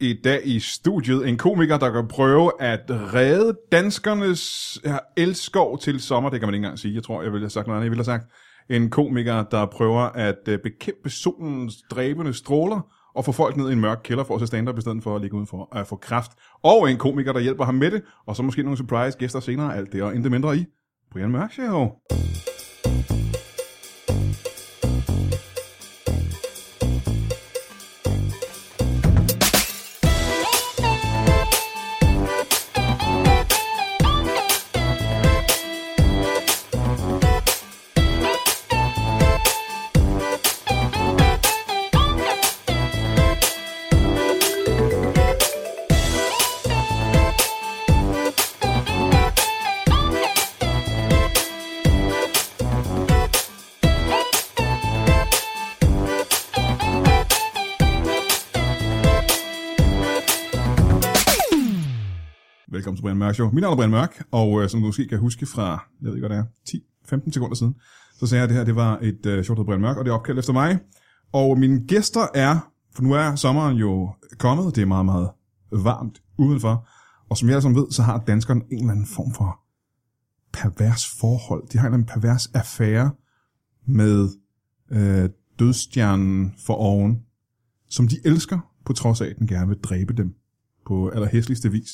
i dag i studiet en komiker, der kan prøve at redde danskernes ja, elskov til sommer. Det kan man ikke engang sige. Jeg tror, jeg ville have sagt noget andet. Jeg ville have sagt en komiker, der prøver at øh, bekæmpe solens dræbende stråler og få folk ned i en mørk kælder for at se stand-up i stedet for at ligge udenfor og få kraft. Og en komiker, der hjælper ham med det, og så måske nogle surprise gæster senere. Alt det og intet mindre i Brian Mørk Show. Velkommen til Brian Mørk Show. Mit navn er Brian Mørk, og øh, som du måske kan huske fra, jeg ved ikke hvad det er, 10-15 sekunder siden, så sagde jeg, at det her det var et øh, show, der hedder Brian Mørk, og det er opkaldt efter mig. Og mine gæster er, for nu er sommeren jo kommet, det er meget, meget varmt udenfor, og som jeg alle sammen ved, så har danskerne en eller anden form for pervers forhold. De har en eller anden pervers affære med øh, dødstjernen for oven, som de elsker, på trods af, at den gerne vil dræbe dem på allerhæsligste vis.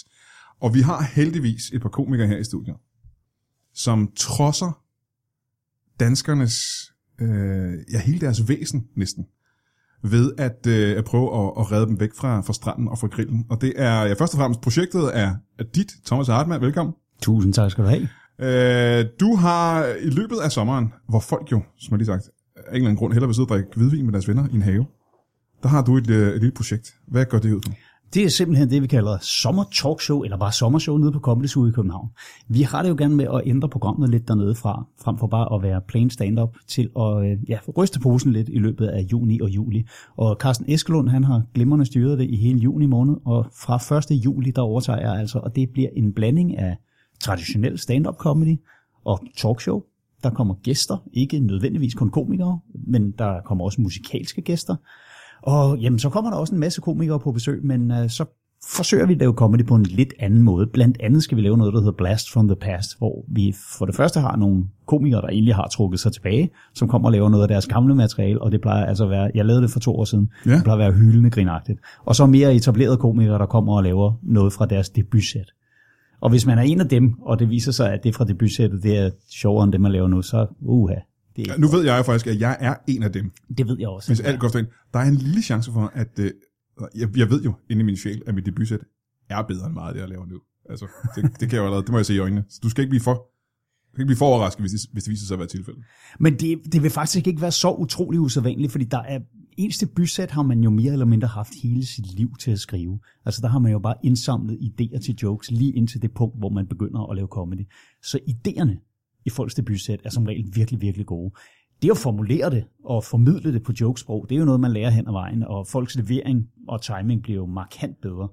Og vi har heldigvis et par komikere her i studiet, som trodser danskernes, øh, ja hele deres væsen næsten, ved at, øh, at prøve at, at redde dem væk fra, fra stranden og fra grillen. Og det er, ja først og fremmest, projektet er, er dit, Thomas Hartmann, velkommen. Tusind tak skal du have. Øh, du har i løbet af sommeren, hvor folk jo, som jeg lige sagt, af en eller anden grund hellere vil sidde og drikke hvidvin med deres venner i en have, der har du et, øh, et lille projekt. Hvad går det ud på? Det er simpelthen det, vi kalder sommertalkshow, eller bare sommershow nede på Comedy Zoo i København. Vi har det jo gerne med at ændre programmet lidt dernede fra, frem for bare at være plain stand-up, til at øh, ja, ryste posen lidt i løbet af juni og juli. Og Carsten Eskelund, han har glimrende styret det i hele juni måned, og fra 1. juli, der overtager jeg altså, og det bliver en blanding af traditionel stand-up comedy og talkshow. Der kommer gæster, ikke nødvendigvis kun komikere, men der kommer også musikalske gæster. Og jamen, så kommer der også en masse komikere på besøg, men øh, så forsøger vi at lave comedy på en lidt anden måde. Blandt andet skal vi lave noget, der hedder Blast from the Past, hvor vi for det første har nogle komikere, der egentlig har trukket sig tilbage, som kommer og laver noget af deres gamle materiale, og det plejer altså at være, jeg lavede det for to år siden, Ja. ja. det plejer at være hyldende grinagtigt. Og så mere etablerede komikere, der kommer og laver noget fra deres debutsæt. Og hvis man er en af dem, og det viser sig, at det fra debutsættet, det er sjovere end det, man laver nu, så uha. Det, Ja, Nu ved jeg jo faktisk, at jeg er en af dem. det ved jeg også. Hvis alt går ind, der er en lille chance for, at øh, jeg, jeg ved jo inde i min sjæl, at mit debutsæt er bedre end meget af det, jeg laver nu. Altså, det, det kan jeg jo allerede, det må jeg se i øjnene. Så du skal ikke blive for, du skal ikke blive for overrasket, hvis det, hvis det viser sig at være tilfældet. Men det, det vil faktisk ikke være så utrolig usædvanligt, fordi der er eneste bysæt har man jo mere eller mindre haft hele sit liv til at skrive. Altså der har man jo bare indsamlet idéer til jokes lige indtil det punkt, hvor man begynder at lave comedy. Så idéerne i folks debutsæt er som regel virkelig, virkelig gode. Det at formulere det og formidle det på jokesprog, det er jo noget, man lærer hen ad vejen, og folks levering og timing bliver jo markant bedre.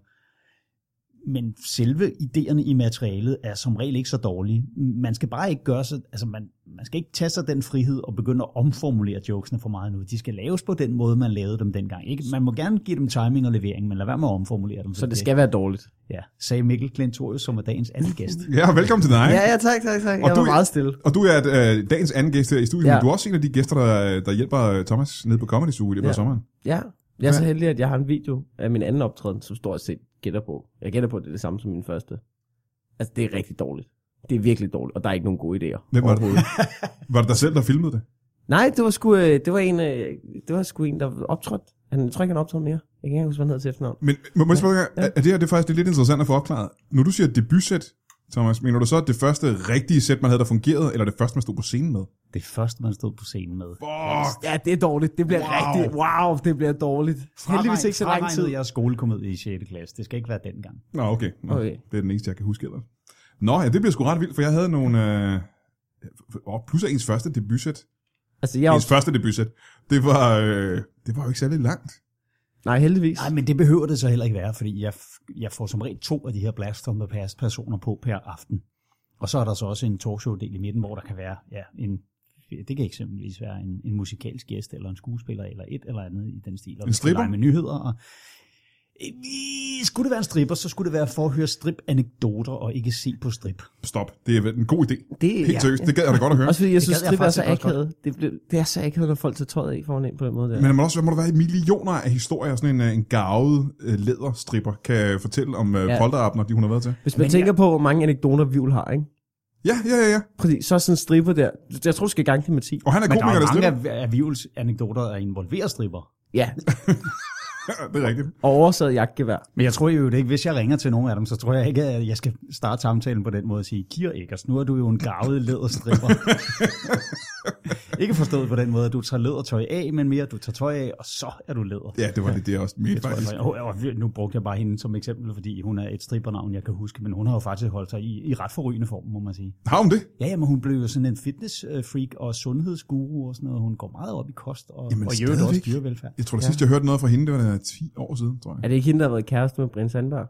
Men selve idéerne i materialet er som regel ikke så dårlige. Man skal bare ikke gøre sig, altså man, man skal ikke tage sig den frihed og begynde at omformulere jokesene for meget nu. De skal laves på den måde, man lavede dem dengang. Ikke? Man må gerne give dem timing og levering, men lad være med at omformulere dem. Så det fordi- skal være dårligt. Ja, sagde Mikkel Klentorius, som er dagens anden gæst. Ja, velkommen til dig. Ja, ja, tak, tak, tak. Og Jeg du- var meget stille. Og du er øh, dagens anden gæst her i studiet, ja. Ja. men du er også en af de gæster, der, der hjælper øh, Thomas ned på Comedy Zoo i løbet af Ja. sommeren. Ja. Jeg er så heldig, at jeg har en video af min anden optræden, som stort set gætter på. Jeg gætter på, at det er det samme som min første. Altså, det er rigtig dårligt. Det er virkelig dårligt, og der er ikke nogen gode idéer. Hvem var det? overhovedet. Var det dig selv, der filmede det? Nej, det var sgu, øh, det var en, øh, det var sgu en der optrådte. Han, jeg tror ikke, han optrådte mere. Jeg kan ikke engang huske, hvad han hed til efternavn. Men må, må jeg spørge, ja. er, er det her det er faktisk det er lidt interessant at få opklaret? Når du siger debutsæt, Thomas, mener du så, at det første rigtige sæt, man havde, der fungerede, eller det første, man stod på scenen med? Det første, man stod på scenen med. Fuck! Ja, det er dårligt. Det bliver Wow. wow. rigtig... Wow, det bliver dårligt. Heldigvis ikke så lang tid. Jeg skolekomedie i 6. klasse. Det skal ikke være dengang. Nå, okay. Nå, okay. Okay. Det er den eneste, jeg kan huske ellers. Nå, ja, det bliver sgu ret vildt, for jeg havde nogle... Øh, åh, plus af ens første debutsæt. Altså, jeg... Ens første debutsæt. Det var, øh, det var jo ikke særlig langt. Nej, heldigvis. Nej, men det behøver det så heller ikke være, fordi jeg, jeg får som regel to af de her Blast from the Past personer på per aften. Og så er der så også en talkshow-del i midten, hvor der kan være ja, en det kan eksempelvis være en, en musikalsk gæst, eller en skuespiller, eller et eller andet i den stil. Og vi skal stripper? lege med nyheder. Og Øh, Skulle det være en stripper, så skulle det være for at høre strip-anekdoter og ikke se på strip. Stop. Det er vel en god idé. Det, Helt seriøst. Det gad jeg da godt at høre. Også fordi jeg synes, Mm. gad jeg det er så faktisk også akavet. Det, bliver- det, er så akavet, når folk tager tøjet af foran en på den måde der. Men der må også må der være millioner af historier, sådan en, øh, en garvet øh, læderstripper kan fortælle om øh, Ja. ja. polterappen og de, hun har været til. Hvis man Men tænker på, hvor mange anekdoter Vivl har, ikke? Ja, ja, ja. ja. Præcis, så er sådan en stripper der. Jeg tror, du skal i gang til med 10. Og han er Men der er komiker, jo der mange stripper. af, af Vivels anekdoter, der involverer stripper. Ja, Ja, det er rigtigt. og oversat jagtgevær. Men jeg tror jo det ikke, hvis jeg ringer til nogen af dem, så tror jeg ikke, at jeg skal starte samtalen på den måde og sige, Kier Eggers, nu er du jo en garvet læderstripper. ikke forstået på den måde, at du tager lædertøj af, men mere, at du tager tøj af, og så er du læder. Ja, det var det, det er også Jeg ment, tror, faktisk. jeg, og- og nu brugte jeg bare hende som eksempel, fordi hun er et strippernavn, jeg kan huske, men hun har jo faktisk holdt sig i, i ret forrygende form, må man sige. Har hun det? Ja, jamen, hun blev jo sådan en fitness-freak og sundhedsguru og sådan noget. Hun går meget op i kost og, Jamen, og i øvrigt også stadigvæk. dyrevelfærd. Jeg tror, det Ja. sidste, jeg hørte noget fra hende, det var da 10 år siden, tror jeg. Er det ikke hende, der har været kæreste med Brian Sandberg?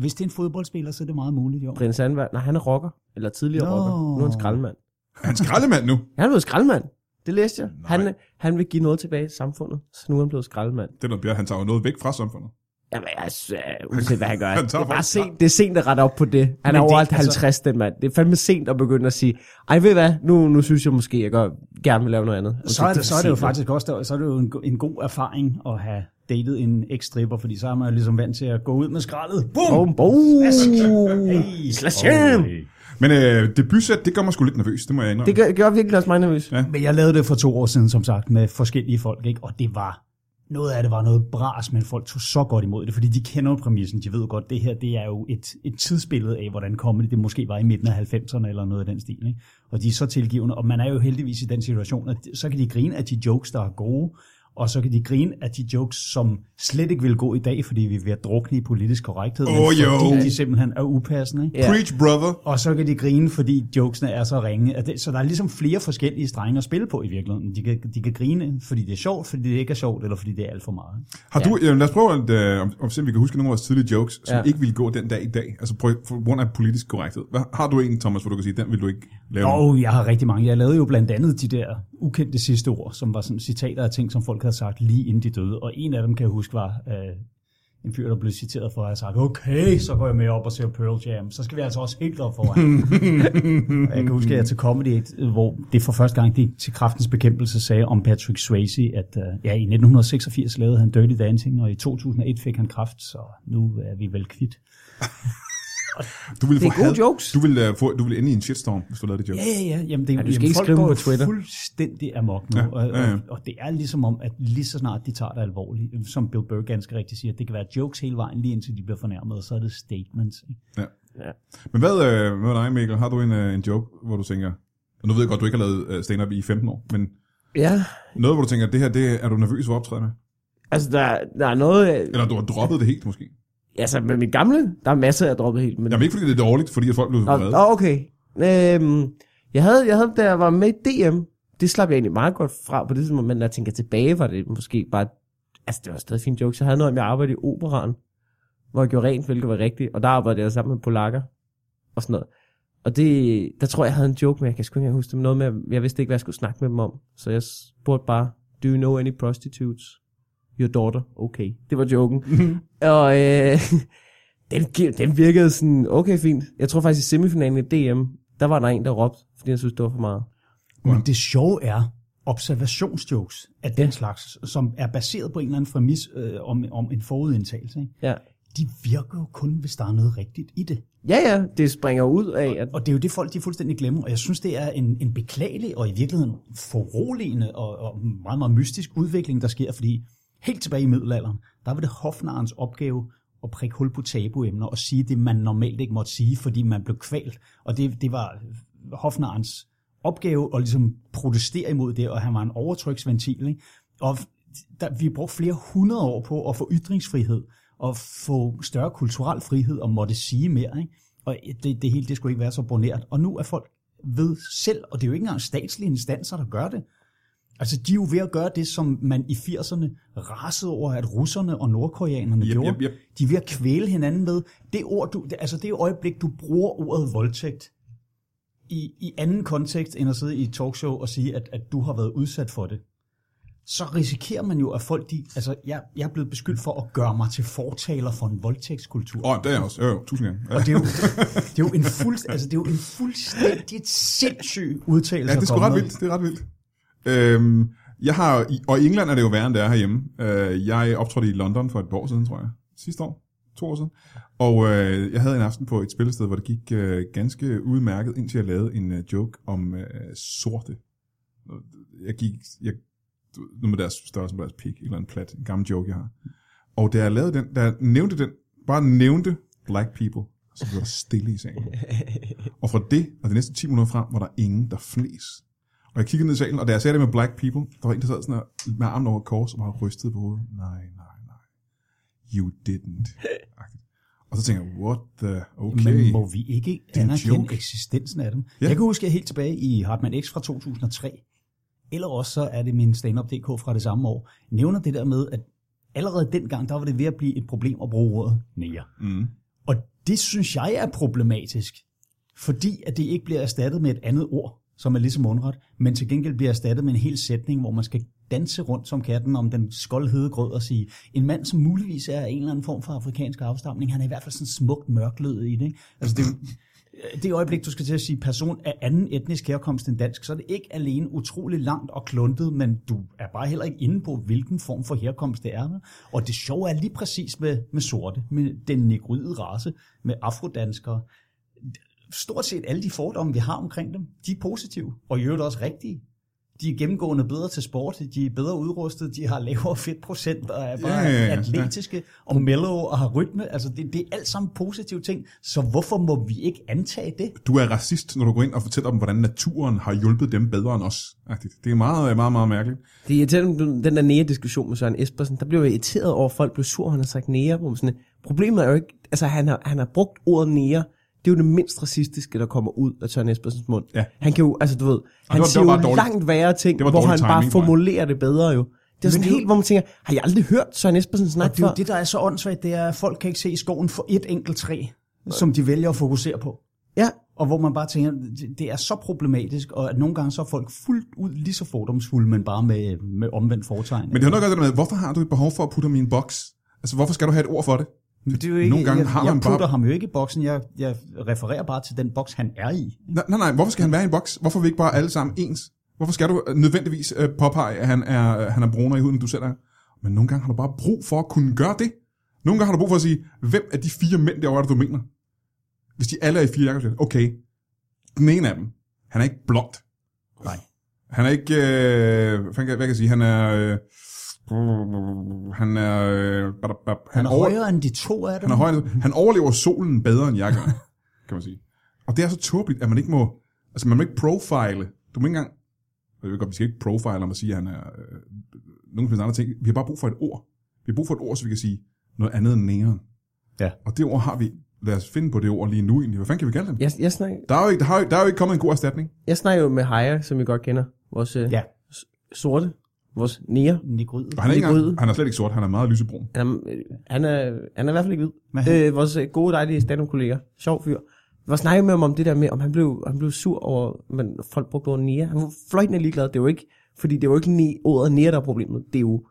Hvis det er en fodboldspiller, så er det meget muligt, jo. Brian Sandberg, nej, han er rocker. Eller tidligere Nå. rocker. Nu er han skraldemand. Er han skraldemand nu? Han er blevet skraldemand. Det læste jeg. Nej. Han, han vil give noget tilbage til samfundet, så nu er han blevet skraldemand. Det er noget bedre. Han tager jo noget væk fra samfundet. Jamen, altså, øh, uanset hvad han gør. Han det, tager er bare folk- sent, det er sent at rette op på det. Han Men er det- over alt altså- 50, den mand. Det er fandme sent at begynde at sige, ej, ved I hvad, nu, nu synes jeg måske, jeg gør, gerne vil lave noget andet. Så er, det, så er det jo sent. faktisk også så er det jo en, go- en god erfaring at have datet en eks-stripper, fordi så er man jo ligesom vant til at gå ud med skraldet. Boom! Boom, boom. Hey, Slash him! Men øh, debutsæt, det gør mig sgu lidt nervøs. Det må jeg indrømme. Det gør, gør virkelig også mig nervøs. Ja. Men jeg lavede det for to år siden, som sagt, med forskellige folk, ikke? og det var noget af det var noget bras, men folk tog så godt imod det, fordi de kender jo præmissen. De ved jo godt, det her det er jo et, et tidsbillede af, hvordan comedy det måske var i midten af 90'erne eller noget af den stil. Ikke? Og de er så tilgivende, og man er jo heldigvis i den situation, at så kan de grine af de jokes, der er gode, og så kan de grine af de jokes, som slet ikke vil gå i dag, fordi vi er ved at drukne i politisk korrekthed, men Åh, jo. fordi de simpelthen er upassende. Ikke? Ja. Preach, brother. Og så kan de grine, fordi jokesene er så ringe. At det- Så der er ligesom flere forskellige strenge at spille på i virkeligheden. De kan, de kan grine, fordi det er sjovt, fordi det ikke er sjovt, eller fordi det er alt for meget. Har du, øh, lad os prøve at øh, om, om, se, om vi kan huske nogle af vores tidlige jokes, som Ja. ja. ikke ville gå den dag i dag. Altså prøv, for grund af politisk korrekthed. Hvad, har du en, Thomas, hvor du kan sige, den vil du ikke lave? nu? Og jeg har rigtig mange. Jeg lavede jo blandt andet de der ukendte sidste ord, som var sådan citater af ting, som folk havde sagt lige inden de døde. Og en af dem, kan jeg huske, var øh, en fyr, der blev citeret for at have sagt, okay, så går jeg med op og ser Pearl Jam. Så skal vi altså også helt op foran. Og jeg kan huske, at jeg til Comedy, Aid, øh, hvor det for første gang gik til kraftens bekæmpelse, sagde om Patrick Swayze, at øh, ja, i 1986 lavede han Dirty Dancing, og i 2001 fik han kraft, så nu er vi vel kvidt. Du ville Det er få gode had. jokes. Du ville, øh, få, du ville ende i en shitstorm, hvis du lavede det joke. Ja, ja, ja. Jamen, det, ja, du skal ikke folk skrive dem går på Twitter. fuldstændig amok nu, ja, ja, ja. Og, og det er ligesom om, at lige så snart de tager det alvorligt, øh, som Bill Burr ganske rigtigt siger, det kan være jokes hele vejen, lige indtil de bliver fornærmet, og så er det statements. ikke? Ja. Ja. ja. Men hvad, øh, hvad med dig, Mikkel? Har du en, øh, en joke, hvor du tænker... Og nu ved jeg godt, du ikke har lavet øh, stand-up i 15 år, men Ja, noget, hvor du tænker, det her, det er du nervøs for at optræde med? altså der, der er noget... øh, Eller du har droppet det helt, måske? Altså med mit gamle, der er masser, jeg har droppet helt. Men Jamen ikke, fordi det er dårligt, fordi at folk blev Nå, vrede. nå, okay. Øhm, jeg, havde, jeg havde, da jeg var med i DM, det slap jeg egentlig meget godt fra på det tidspunkt, men når jeg tænker tilbage, var det måske bare, altså det var stadig fine jokes. Jeg havde noget om, jeg arbejdede i operan, hvor jeg gjorde rent, hvilket var rigtigt, og der arbejdede jeg sammen med polakker og sådan noget. Og det, der tror jeg, jeg havde en joke med, jeg kan sgu ikke engang huske det, men noget med, at jeg vidste ikke, hvad jeg skulle snakke med dem om. Så jeg spurgte bare, do you know any prostitutes? Your daughter? Okay. Det var joken. og øh, den, gi- den virkede sådan, okay fint. Jeg tror faktisk i semifinalen i DM, der var der en, der råbte, fordi han synes, det var for meget. Men det sjove er observationsjokes af den slags, som er baseret på en eller anden præmis øh, om, om en forudindtagelse. Ikke? Ja. De virker jo kun, hvis der er noget rigtigt i det. ja, ja, det springer ud af, at Og det er jo det, folk de fuldstændig glemmer. Og jeg synes, det er en, en beklagelig og i virkeligheden foruroligende og, og meget, meget mystisk udvikling, der sker. Fordi helt tilbage i middelalderen, der var det hofnarens opgave at prikke hul på tabuemner og sige det, man normalt ikke måtte sige, fordi man blev kvalt. Og det, det var hofnarens opgave at ligesom protestere imod det, og han var en overtryksventil. Ikke? Og der, vi brugte flere hundrede år på at få ytringsfrihed og få større kulturel frihed og måtte sige mere. Ikke? Og det, det hele, det skulle ikke være så bornært. Og nu er folk ved selv, og det er jo ikke engang statslige instanser, der gør det. Altså, de er jo ved at gøre det, som man i 80'erne rasede over, at russerne og nordkoreanerne Yep, gjorde. yep, yep. De er ved at kvæle hinanden med det ord, du, det- altså det øjeblik, du bruger ordet voldtægt i, i anden kontekst, end at sidde i et talkshow og sige, at, at du har været udsat for det. så risikerer man jo, at folk de... Altså, jeg, jeg er blevet beskyldt for at gøre mig til fortaler for en voldtægtskultur. Åh, oh, det er jeg også. Jo, jo, tusind gange. Ja. Og det er jo, det er jo, en, fuld, altså, det er jo en fuldstændig sindssyg Ja, udtalelse. det er at sgu komme ret med. vildt. Det er ret vildt. Øhm, jeg har, i- og i England er det jo værre, end det er herhjemme. Øh, jeg optrådte i London for et par år siden, tror jeg. Sidste år. To år siden. Og øh, jeg havde en aften på et spillested, hvor det gik øh, ganske udmærket, indtil jeg lavede en øh, joke om øh, sorte. Og Jeg gik... Jeg, du ved, noget med deres størrelse på deres pik, eller en plat, en gammel joke, jeg har. Og da jeg lavede den, da jeg nævnte den, bare nævnte black people, så blev der stille i salen. Og fra det, og de næste 10 minutter frem, var der ingen, der flæs. Og jeg kiggede ned i salen, og da jeg sagde det med black people, der var en, der sad sådan her, med armen over kors og bare rystede på hovedet. Nej, nej, nej. You didn't. Og så tænker jeg, what the, okay. Men må vi ikke er en anerkende joke. eksistensen af dem? Ja. Ja. Jeg kan huske, at helt tilbage i Hartmann X fra 2003, eller også så er det min standup.dk fra det samme år, nævner det der med, at allerede dengang, der var det ved at blive et problem at bruge ordet nære. Mm. Og det synes jeg er problematisk, fordi at det ikke bliver erstattet med et andet ord, som er ligesom mundret, men til gengæld bliver erstattet med en hel sætning, hvor man skal danse rundt som katten om den skoldhede grød og sige, en mand, som muligvis er af en eller anden form for afrikansk afstamning, han er i hvert fald sådan smukt mørklød i det. Ikke? Altså det, er jo- det øjeblik, du skal til at sige person af anden etnisk herkomst end dansk, så er det ikke alene utrolig langt og kluntet, men du er bare heller ikke inde på, hvilken form for herkomst det er. vel? Og det sjove er lige præcis med, med sorte, med den negroide race, med afrodanskere, stort set alle de fordomme, vi har omkring dem, de er positive, og i øvrigt også rigtige. De er gennemgående bedre til sport, de er bedre udrustet, de har lavere fedtprocent og er bare Ja, ja, ja, ja, ja. atletiske og mellow og har rytme. Altså det, det er alt sammen positive ting, så hvorfor må vi ikke antage det? Du er racist, når du går ind og fortæller dem, hvordan naturen har hjulpet dem bedre end os. Agtigt. Det er meget, meget, meget mærkeligt. Det er irriterende, den der nære-diskussion med Søren Espersen, der blev jeg irriteret over, at folk blev sur, han har sagt nære. Hvor man sådan, problemet er jo ikke, altså han har, han har brugt ordet nære, det er jo det mindst racistiske, der kommer ud af Søren Espersens mund. Ja. Han kan jo, altså du ved, han var- det siger var jo bare dårligt. langt værre ting, Det var hvor dårlig han bare timing for ham. formulerer det bedre jo. Det er sådan det er jo- helt, hvor man tænker, har jeg aldrig hørt Søren Espersen Og snakke det er før? jo det, der er så åndssvagt, det er, at folk kan ikke se skoven for et enkelt træ, som de vælger at fokusere på. Ja, Og hvor man bare tænker, det- det er så problematisk, og at nogle gange så er folk fuldt ud lige så fordomsfulde, men bare med, med omvendt foretegn. Men det har nok også det der med, hvorfor har du et behov for at putte ham i en boks? Altså, hvorfor skal du have et ord for det? Det er jo ikke, Nogle gange jeg, har man jeg bare... putter ham jo ikke i boksen, jeg, jeg refererer bare til den boks, han er i. Nej, nej, nej, hvorfor skal han være i en boks? Hvorfor er vi ikke bare alle sammen ens? Hvorfor skal du øh, nødvendigvis øh, påpege, at han er, øh, han er brunere i huden, end du selv er? Men nogle gange har du bare brug for at kunne gøre det. Nogle gange har du brug for at sige, hvem af de fire mænd derovre, er det, du mener? Hvis de alle er i fire jakkesæt, okay. Den ene af dem, han er ikke blond. Nej. Han er ikke, øh, hvad, kan, hvad kan jeg sige, han er... Øh, han er... Øh, badabab, Han er over- højere end de to af dem. han er højere. Han overlever solen bedre end jeg gør, kan man sige. Og det er så tåbeligt, at man ikke må... Altså, man må ikke profile. Du må ikke engang... Jeg ved godt, vi skal ikke profile om at sige, at han er... Øh, nogen som helst andre ting. Vi har bare brug for et ord. Vi har brug for et ord, så vi kan sige noget andet end næren. Ja. Og det ord har vi... Lad os finde på det ord lige nu egentlig. Hvad fanden kan vi kalde dem? jeg, jeg, snakker, Der, er jo ikke, der, har, jo- der er jo ikke kommet en god erstatning. jeg snakker jo med Heyer, som I godt kender, vores øh, Ja, sorte, vores nære. Negryd. Og han er, ikke Negroid. engang, han er slet ikke sort. Han er meget lysebrun. Han er, øh, han er, han er i hvert fald ikke Men hvid. han- Øh, vores øh, gode, dejlige stand-up-kollega. Sjov fyr. Jeg var snakket med ham om det der med, om han blev, han blev sur over, men folk brugte ordet nære. Han var fløjtende ligeglad. Det var ikke, fordi det var ikke ni, ordet nære, der er problemet. Det er jo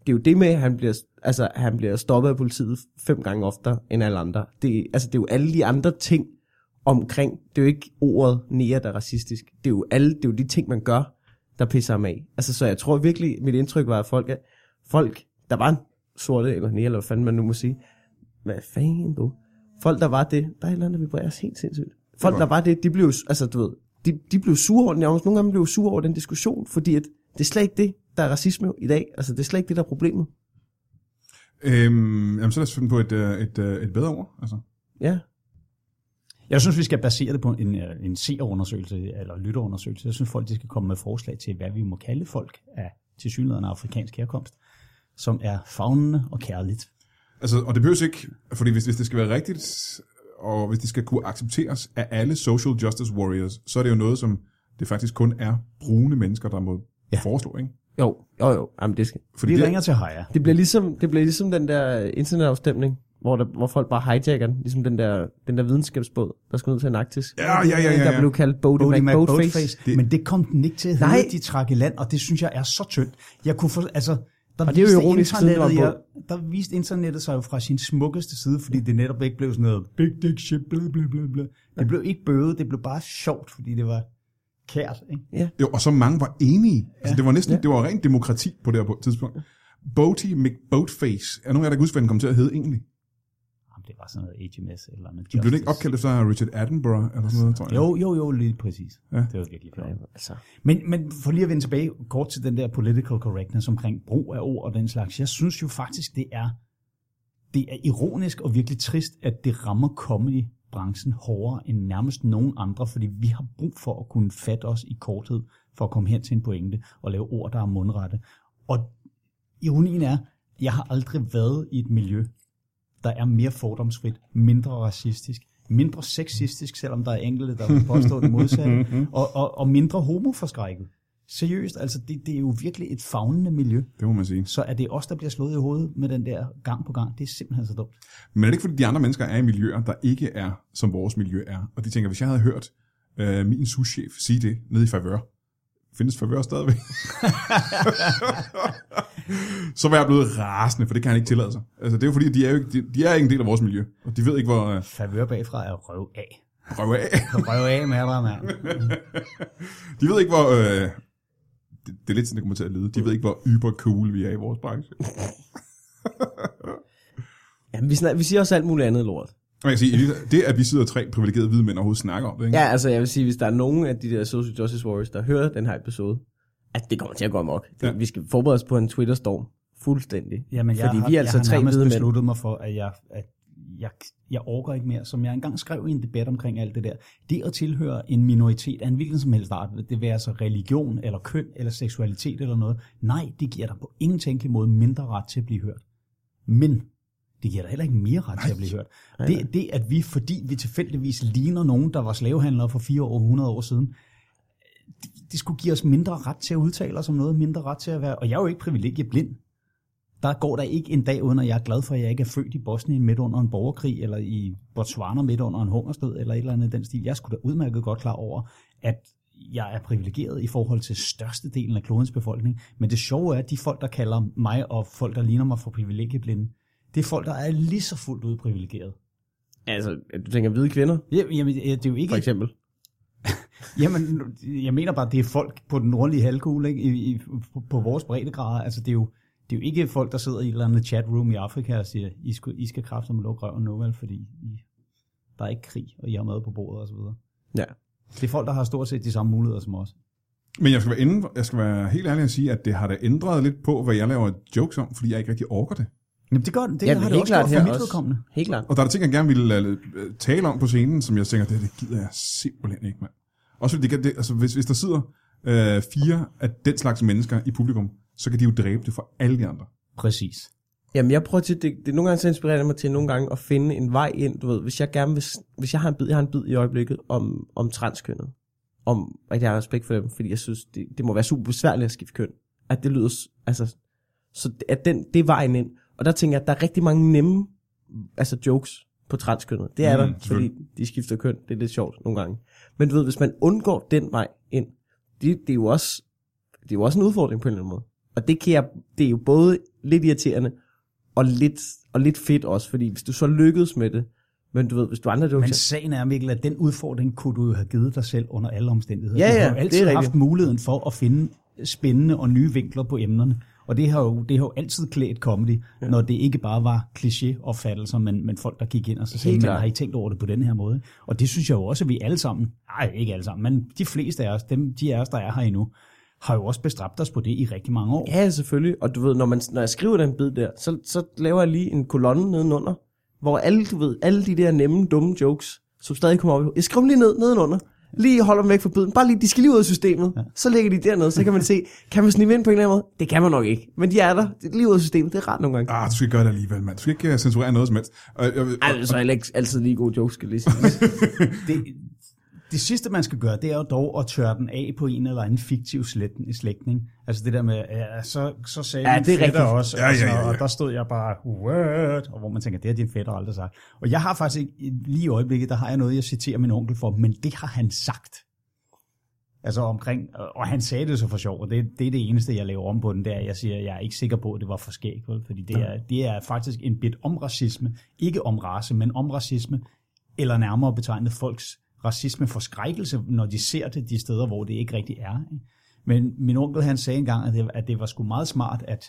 det, er jo det med, at han bliver, altså, han bliver stoppet af politiet fem gange oftere end alle andre. Det, altså, det er jo alle de andre ting omkring. Det er jo ikke ordet nære, der er racistisk. Det er jo, alle, det er jo de ting, man gør, der pisser ham af. Altså, så jeg tror virkelig, mit indtryk var, at folk, er- folk der var en sorte eller nære, eller hvad fanden man nu må sige, hvad fanden du? Folk, der var det, der er et eller andet, der vibreres helt sindssygt. Folk, der var det, de blev, altså du ved, de, de blev sure over den, nærmest nogle gange blev sure over den diskussion, fordi at det er slet ikke det, der er racisme i dag. Altså, det er slet ikke det, der er problemet. Øhm, jamen, så lad os finde på et, øh, et, øh, et bedre ord. Altså. Ja. Jeg synes, vi skal basere det på en, øh, en seerundersøgelse eller lytterundersøgelse. Jeg synes, folk de skal komme med forslag til, hvad vi må kalde folk af tilsyneladende afrikansk herkomst, som er fagnende og kærligt. Altså, og det behøves ikke, fordi hvis, hvis det skal være rigtigt, og hvis det skal kunne accepteres af alle social justice warriors, så er det jo noget, som det faktisk kun er brune mennesker, der må ja. Ja. foreslå, ikke? Jo, jo, jo. Jamen, det, skal. Fordi Vi det, ringer til Heja. det, bliver ligesom, det bliver ligesom den der internetafstemning, hvor, der, hvor folk bare hijacker den, ligesom den der, den der videnskabsbåd, der skulle ned til Antarktis. Ja, ja, ja, ja, Der ja. blev kaldt Bodie, Bodie Mac Boatface. McBoatface. Det- Det... Men det kom den ikke til at hedde, Nej. de trak i land, og det synes jeg er så tyndt. Jeg kunne for, altså, der Og det er jo viste ironisk, siden det var en internettet, jeg, der viste internettet sig jo fra sin smukkeste side, fordi det netop ikke blev sådan noget big dick shit, bla bla bla bla. Det blev ikke bøvet, det blev bare sjovt, fordi det var kært. Ikke? Jo, og så mange var enige. Altså, det var næsten, det var rent demokrati på det her tidspunkt. Boaty McBoatface. Er nogen af jer, der kan huske, hvad den kom til at hedde egentlig? Jamen, det var sådan noget HMS eller noget Blev den Justice. ikke opkaldt efter Richard Attenborough eller sådan noget, tror jeg? Jo, jo, jo, lige præcis. Ja. Ja. Det var virkelig Ja, sjovt. altså. Men, men for lige at vende tilbage kort til den der political correctness omkring brug af ord og den slags, jeg synes jo faktisk, det er, det er ironisk og virkelig trist, at det rammer comedybranchen hårdere end nærmest nogen andre, fordi vi har brug for at kunne fatte os i korthed, for at komme hen til en pointe og lave ord, der er mundrette. Og ironien er, jeg har aldrig været i et miljø, der er mere fordomsfrit, mindre racistisk, mindre sexistisk, selvom der er enkelte, der vil påstå det modsatte, og, og, og mindre homoforskrækket. Seriøst, altså det, det er jo virkelig et fagnende miljø, Det må man sige. så er det os, der bliver slået i hovedet med den der gang på gang. Det er simpelthen så dumt. Men er det ikke, fordi de andre mennesker er i miljøer, der ikke er, som vores miljø er? Og de tænker, hvis jeg havde hørt øh, min souschef sige det nede i favør, findes favør stadigvæk? så var jeg blevet rasende, for det kan han ikke tillade sig. Altså, det er jo fordi, de er, jo ikke, de, de er ikke en del af vores miljø, og de ved ikke, hvor øh, Favør bagfra er røv af. røv af. Røv af med dig, mand. De ved ikke, hvor... Øh, det, det er lidt sådan, det kommer til at lyde. De ved ikke, hvor yber cool vi er i vores branche. Jamen, vi, snak, vi siger også alt muligt andet lort. Og jeg kan sige, det at vi sidder tre privilegerede hvide mænd og overhovedet snakker om det, ikke? Ja, altså jeg vil sige, hvis der er nogen af de der social justice warriors, der hører den her episode, at det kommer til at gå amok. Det, Ja. Vi skal forberede os på en Twitter-storm. Fuldstændig. Jamen, jeg Fordi har, vi er altså jeg tre har nærmest hvide mænd. besluttet mig for, at jeg, at jeg, jeg orker ikke mere. Som jeg engang skrev i en debat omkring alt det der. Det at tilhøre en minoritet af en hvilken som helst art, det være altså religion, eller køn, eller seksualitet eller noget. Nej, det giver dig på ingen tænkelig måde mindre ret til at blive hørt. Men det giver dig heller ikke mere ret til at blive hørt. Det, det, at vi, fordi vi tilfældigvis ligner nogen, der var slavehandlere for 4 år, 100 år siden, det, det skulle give os mindre ret til at udtale os om noget, mindre ret til at være... Og jeg er jo ikke privilegieblind. Der går der ikke en dag, uden at jeg er glad for, at jeg ikke er født i Bosnien midt under en borgerkrig, eller i Botswana midt under en hungersnød, eller et eller andet i den stil. Jeg skulle da udmærket godt klar over, at jeg er privilegeret i forhold til størstedelen af klodens befolkning. Men det sjove er, at de folk, der kalder mig og folk, der ligner mig for privilegieblinde, det er folk, der er lige så fuldt ud privilegeret. Altså, du tænker hvide kvinder, Jamen, jamen, det er jo ikke... for eksempel. Jamen, jeg mener bare, det er folk på den nordlige halvkugle, ikke? I, i, på- på vores breddegrader. Altså, det er, jo, det er jo ikke folk, der sidder i et eller andet chatroom i Afrika og siger, I skal, I skal kræfte med lukke røven nu, vel, fordi I, der er ikke krig, og I har mad på bordet og så videre. Ja. Det er folk, der har stort set de samme muligheder som os. Men jeg skal, være inden, jeg skal være helt ærlig og sige, at det har da ændret lidt på, hvad jeg laver jokes om, fordi jeg ikke rigtig orker det. Jamen, det gør det. Det Ja, har men det helt også klart gjort her for mit også. vedkommende. Helt klart. Og der er der ting, jeg gerne ville øh, tale om på scenen, som jeg tænker, det, det gider jeg simpelthen ikke, mand. Også fordi, det, kan- det, altså, hvis, hvis der sidder øh, fire af den slags mennesker i publikum, så kan de jo dræbe det for alle de andre. Præcis. Jamen, jeg prøver til, det, det er nogle gange så inspirerer det mig til nogle gange at finde en vej ind, du ved, hvis jeg gerne vil, s- hvis jeg har en bid, jeg har en bid i øjeblikket om, om transkønnet, om at jeg har respekt for dem, fordi jeg synes, det, det må være super besværligt at skifte køn, at det lyder, s- altså, så det- at den, det er vejen ind, og der tænker jeg, at der er rigtig mange nemme, altså jokes på transkønnet, det Mm, er der, fordi selvfølgelig. de skifter køn, det er lidt sjovt nogle gange, men du ved, hvis man undgår den vej ind, det, det er jo også, det er jo også en udfordring på en eller anden måde, og det kan jeg, det er jo både lidt irriterende, og lidt, og lidt fedt også, fordi hvis du så lykkedes med det, men du ved, hvis du andre jokes... Men sagen er, Mikkel, at den udfordring kunne du jo have givet dig selv under alle omstændigheder. Ja, du ja, har jo det altid er rigtigt. haft muligheden for at finde spændende og nye vinkler på emnerne. Og det har jo, det har jo altid klædt comedy, ja. når det ikke bare var kliché-opfattelser, men, men folk, der gik ind og så sagde, Helt men klart. har I tænkt over det på den her måde? Og det synes jeg jo også, at vi alle sammen, nej ikke alle sammen, men de fleste af os, dem, de af os, der er her endnu, har jo også bestræbt os på det i rigtig mange år. Ja, selvfølgelig. Og du ved, når, man, når jeg skriver den bid der, så, så laver jeg lige en kolonne nedenunder, hvor alle, du ved, alle de der nemme, dumme jokes, som stadig kommer op. i- Jeg skriver dem lige ned nedenunder. Lige holder dem væk fra biden. Bare lige, de skal lige ud af systemet. Ja. Så lægger de dernede, så kan man se, kan man snige ind på en eller anden måde? Det kan man nok ikke. Men de er der. De er lige ud af systemet. Det er rart nogle gange. Ah, du skal gøre det alligevel, mand. Du skal ikke øh, Altså. censurere noget som helst. Og, jeg, Ej, så er heller ikke altid lige gode jokes, skal jeg lige sige. Det, Det sidste, man skal gøre, det er jo dog at tørre den af på en eller anden fiktiv slægt- slægtning. Altså det der med, ja, så, så sagde Ja, ja, min det er fætter rigtigt. også, Ja, og, ja, sådan, ja, noget, ja. og der stod jeg bare, what? Og hvor man tænker, det har din fætter aldrig sagt. Og jeg har faktisk ikke, lige i øjeblikket, der har jeg noget, jeg citerer min onkel for, men det har han sagt. Altså omkring, og og han sagde det så for sjov, og det, det er det eneste, jeg laver om på den, der jeg siger, jeg er ikke sikker på, at det var for skægt, vel? fordi det er, det er faktisk en bit om racisme, ikke om race, men om racisme, eller nærmere betegnet folks racisme forskrækkelse, når de ser det de steder, hvor det ikke rigtig er. Ikke? Men min onkel, han sagde engang, at det, at det var sgu meget smart, at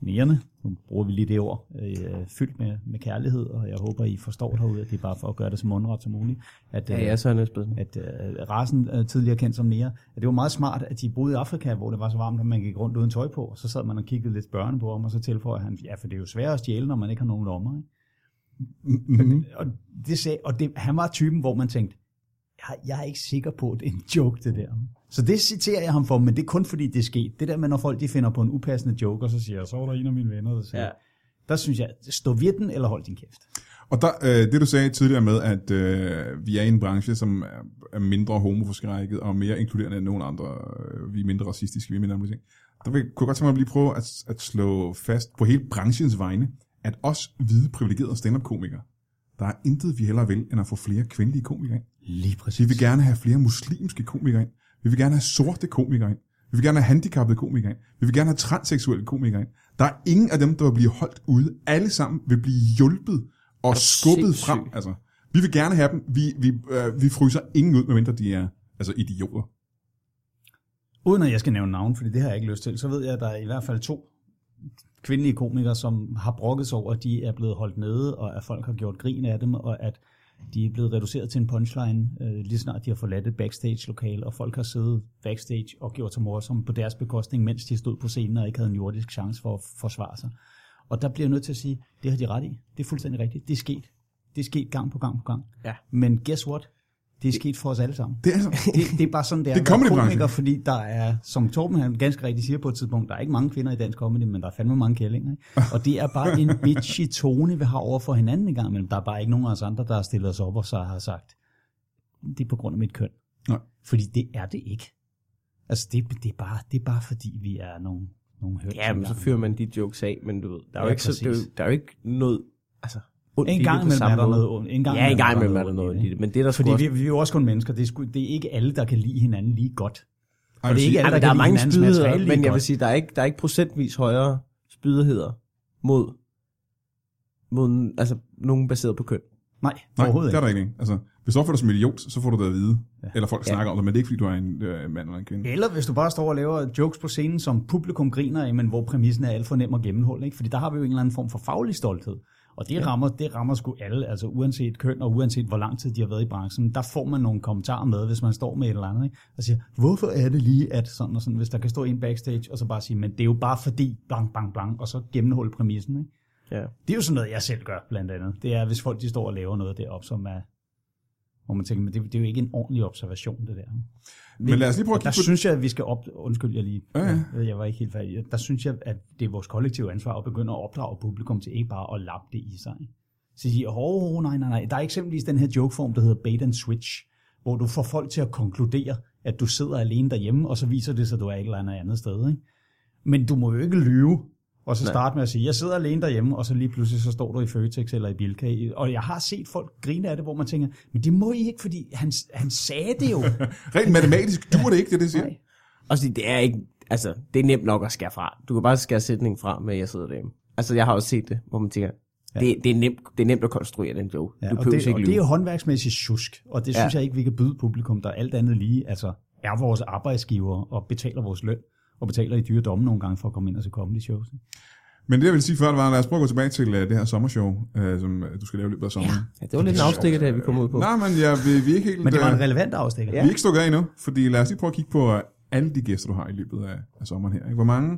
nærende, nu bruger vi lige det ord, øh, fyldt med, med kærlighed, og jeg håber, I forstår derude, at det er bare for at gøre det så mundret som muligt, at, Ja, øh, ja, så er det spændende. at øh, rasen øh, tidligere kendt som nære, at det var meget smart, at de boede i Afrika, hvor det var så varmt, at man gik rundt uden tøj på, og så sad man og kiggede lidt børne på ham, og så tilføjede han, ja, for det er jo sværere at stjæle, når man ikke har nogen lommer. Ikke? Mm-hmm. Og, det sagde, og det, han var typen, hvor man tænkte, jeg, jeg er ikke sikker på, at det er en joke, det der. Så det citerer jeg ham for, men det er kun fordi, det er sket. Det der med, når folk de finder på en upassende joke, og så siger jeg, så var der en af mine venner, der sagde, Ja. ja. der synes jeg, stå ved den, eller hold din kæft. Og der, øh, det du sagde tidligere med, at øh, vi er i en branche, som er, er mindre homoforskrækket og mere inkluderende end nogen andre. Øh, vi er mindre racistiske, vi er mindre andre ting. Der vil, kunne jeg godt tænke mig at lige prøve at, at slå fast på hele branchens vegne, at os hvide privilegerede stand-up-komikere, der er intet vi hellere vil, end at få flere kvindelige komikere ind. Lige præcis. Vi vil gerne have flere muslimske komikere ind. Vi vil gerne have sorte komikere ind. Vi vil gerne have handicappede komikere ind. Vi vil gerne have transseksuelle komikere ind. Der er ingen af dem, der vil blive holdt ude. Alle sammen vil blive hjulpet og skubbet sindssyg? frem. Altså, vi vil gerne have dem. Vi, vi, øh, vi fryser ingen ud, medmindre de er altså, idioter. Uden at jeg skal nævne navn, fordi det har jeg ikke lyst til, så ved jeg, at der er i hvert fald to kvindelige komikere, som har brokket sig over, at de er blevet holdt nede, og at folk har gjort grin af dem, og at de er blevet reduceret til en punchline, øh, lige snart de har forladt et backstage-lokale, og folk har siddet backstage og gjort sig morsomme på deres bekostning, mens de stod på scenen og ikke havde en jordisk chance for at forsvare sig. Og der bliver jeg nødt til at sige, det har de ret i. Det er fuldstændig rigtigt. Det er sket. Det er sket gang på gang på gang. Ja. Men guess what? Det er sket for os alle sammen. Det er altså, Det, det er bare sådan, det er, Det er at være comedybranchen. komiker, fordi der er, som Torben han ganske rigtigt siger på et tidspunkt, der er ikke mange kvinder i dansk comedy, men der er fandme mange kællinger. Ikke? Og det er bare en bitchy tone, vi har over for hinanden engang, men der er bare ikke nogen af os andre, der har stillet os op og så har sagt, det er på grund af mit køn. Nej. Fordi det er det ikke. Altså det, det, er, bare, det er bare fordi, vi er nogle, nogle hørt. Ja, men så fyrer man de jokes af, men du ved, der er jo Ja, ikke, så, det er præcis. jo, der er jo ikke noget, altså, ondt i en det gang på imellem samme er der måde. noget ondt. En gang Ja, en gang der imellem er der noget ondt i ondt det, i det, men det er der sgu Fordi også, vi, vi er jo også kun mennesker. Det er, sgu, det er ikke alle, der kan lide hinanden lige godt. ej, Og det er ikke altså, alle, Ej, der, men der er kan lide hinandens mange materiale spydigheder, lige men jeg godt. vil sige, der er ikke, der er ikke procentvis højere spydigheder mod, mod altså, nogen baseret på køn. Nej, Nej, overhovedet det ikke. er der ikke. Altså, hvis du opfører dig som idiot, så får du det at vide. Ja. Eller folk Ja. snakker om det, men det er ikke, fordi du er en øh, mand eller en kvinde. Eller hvis du bare står og laver jokes på scenen, som publikum griner af, men hvor præmissen er alt for nem at gennemholde. Ikke? Fordi der har vi jo en eller anden form for faglig stolthed. Og det, ja. rammer, det rammer sgu alle, altså uanset køn og uanset hvor lang tid de har været i branchen. Der får man nogle kommentarer med, hvis man står med et eller andet, ikke? og siger, hvorfor er det lige, at sådan og sådan, hvis der kan stå en backstage, og så bare sige, men det er jo bare fordi, blank, blank, blank, og så gennemholde præmissen. Ikke? Ja. Det er jo sådan noget, jeg selv gør, blandt andet. Det er, hvis folk de står og laver noget deroppe, som er, hvor man tænker, men det, det er jo ikke en ordentlig observation, det der. Men lad os lige prøve at Der kigge på synes jeg, at vi skal op... Undskyld, jeg lige... Ja, ja. Jeg, jeg var ikke helt færdig. Der synes jeg, at det er vores kollektive ansvar at begynde at opdrage publikum til ikke bare at lappe det i sig. ikke? Så siger, åh, oh, nej, nej, nej. Der er eksempelvis den her jokeform, der hedder bait and switch, hvor du får folk til at konkludere, at du sidder alene derhjemme, og så viser det sig, at du er et eller andet andet sted. Ikke? Men du må jo ikke lyve, og så starte med at sige, jeg sidder alene derhjemme, og så lige pludselig så står du i Føtex eller i Bilka. i- Og jeg har set folk grine af det, hvor man tænker, men det må I ikke, fordi han, han sagde det jo. Rent matematisk duer det ikke, det det siger. Nej. Og så, det er ikke, altså, det er nemt nok at skære fra. Du kan bare skære sætningen fra med, jeg sidder derhjemme. Altså, jeg har også set det, hvor man tænker, ja. det, det, er nemt, det er nemt at konstruere den joke. Ja, du og behøver det, ikke og det er lyve. jo håndværksmæssigt tjusk, og det Ja. synes jeg ikke, vi kan byde publikum, der alt andet lige altså, er vores arbejdsgiver og betaler vores løn og betaler i dyre domme nogle gange for at komme ind og se comedy shows. Men det, jeg ville sige før, det var, lad os prøve at gå tilbage til øh, det her sommershow, øh, som øh, du skal lave i løbet af sommeren. Ja, det var lidt en afstikker, der vi kom ud på. Nej, men ja, vi, vi er ikke helt... Men det var en øh, relevant afstikker. Vi er ikke stukket af endnu, fordi lad os lige prøve at kigge på øh, alle de gæster, du har i løbet af, af sommeren her. Ikke? Hvor mange,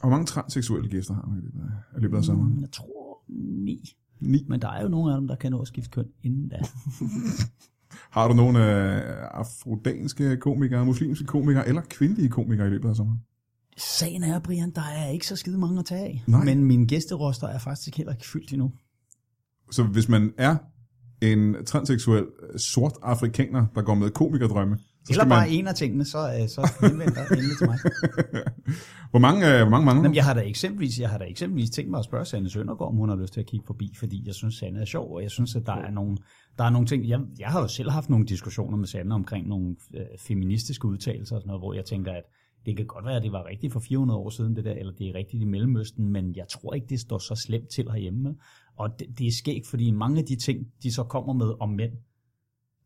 hvor mange transseksuelle gæster har du i løbet af, i løbet af sommeren? Mm, Jeg tror ni. Ni. Men der er jo nogle af dem, der kan nå at skifte køn inden da. Har du nogle øh, afrodanske komikere, muslimske komikere eller kvindelige komikere i løbet af sommeren? Sagen er, Brian, der er ikke så skide mange at tage af. Nej. Men min gæsteroster er faktisk heller ikke fyldt endnu. Så hvis man er en transseksuel øh, sort afrikaner, der går med komikerdrømme. Så Eller skal bare man, en af tingene, så, øh, så henvend dig endelig til mig. hvor mange, øh, hvor mange mangler Jamen, du? jeg har da eksempelvis, jeg har da eksempelvis tænkt mig at spørge Sanne Søndergaard, om hun har lyst til at kigge forbi, fordi jeg synes, Sanne er sjov, og jeg synes, at der er nogle, der er nogle ting. Jeg, jeg har jo selv haft nogle diskussioner med Sanne omkring nogle øh, feministiske udtalelser og sådan noget, hvor jeg tænker, at det kan godt være, at det var rigtigt for 400 år siden, det der, eller det er rigtigt i Mellemøsten, men jeg tror ikke, det står så slemt til herhjemme. Og det, det er skægt, fordi mange af de ting, de så kommer med om mænd,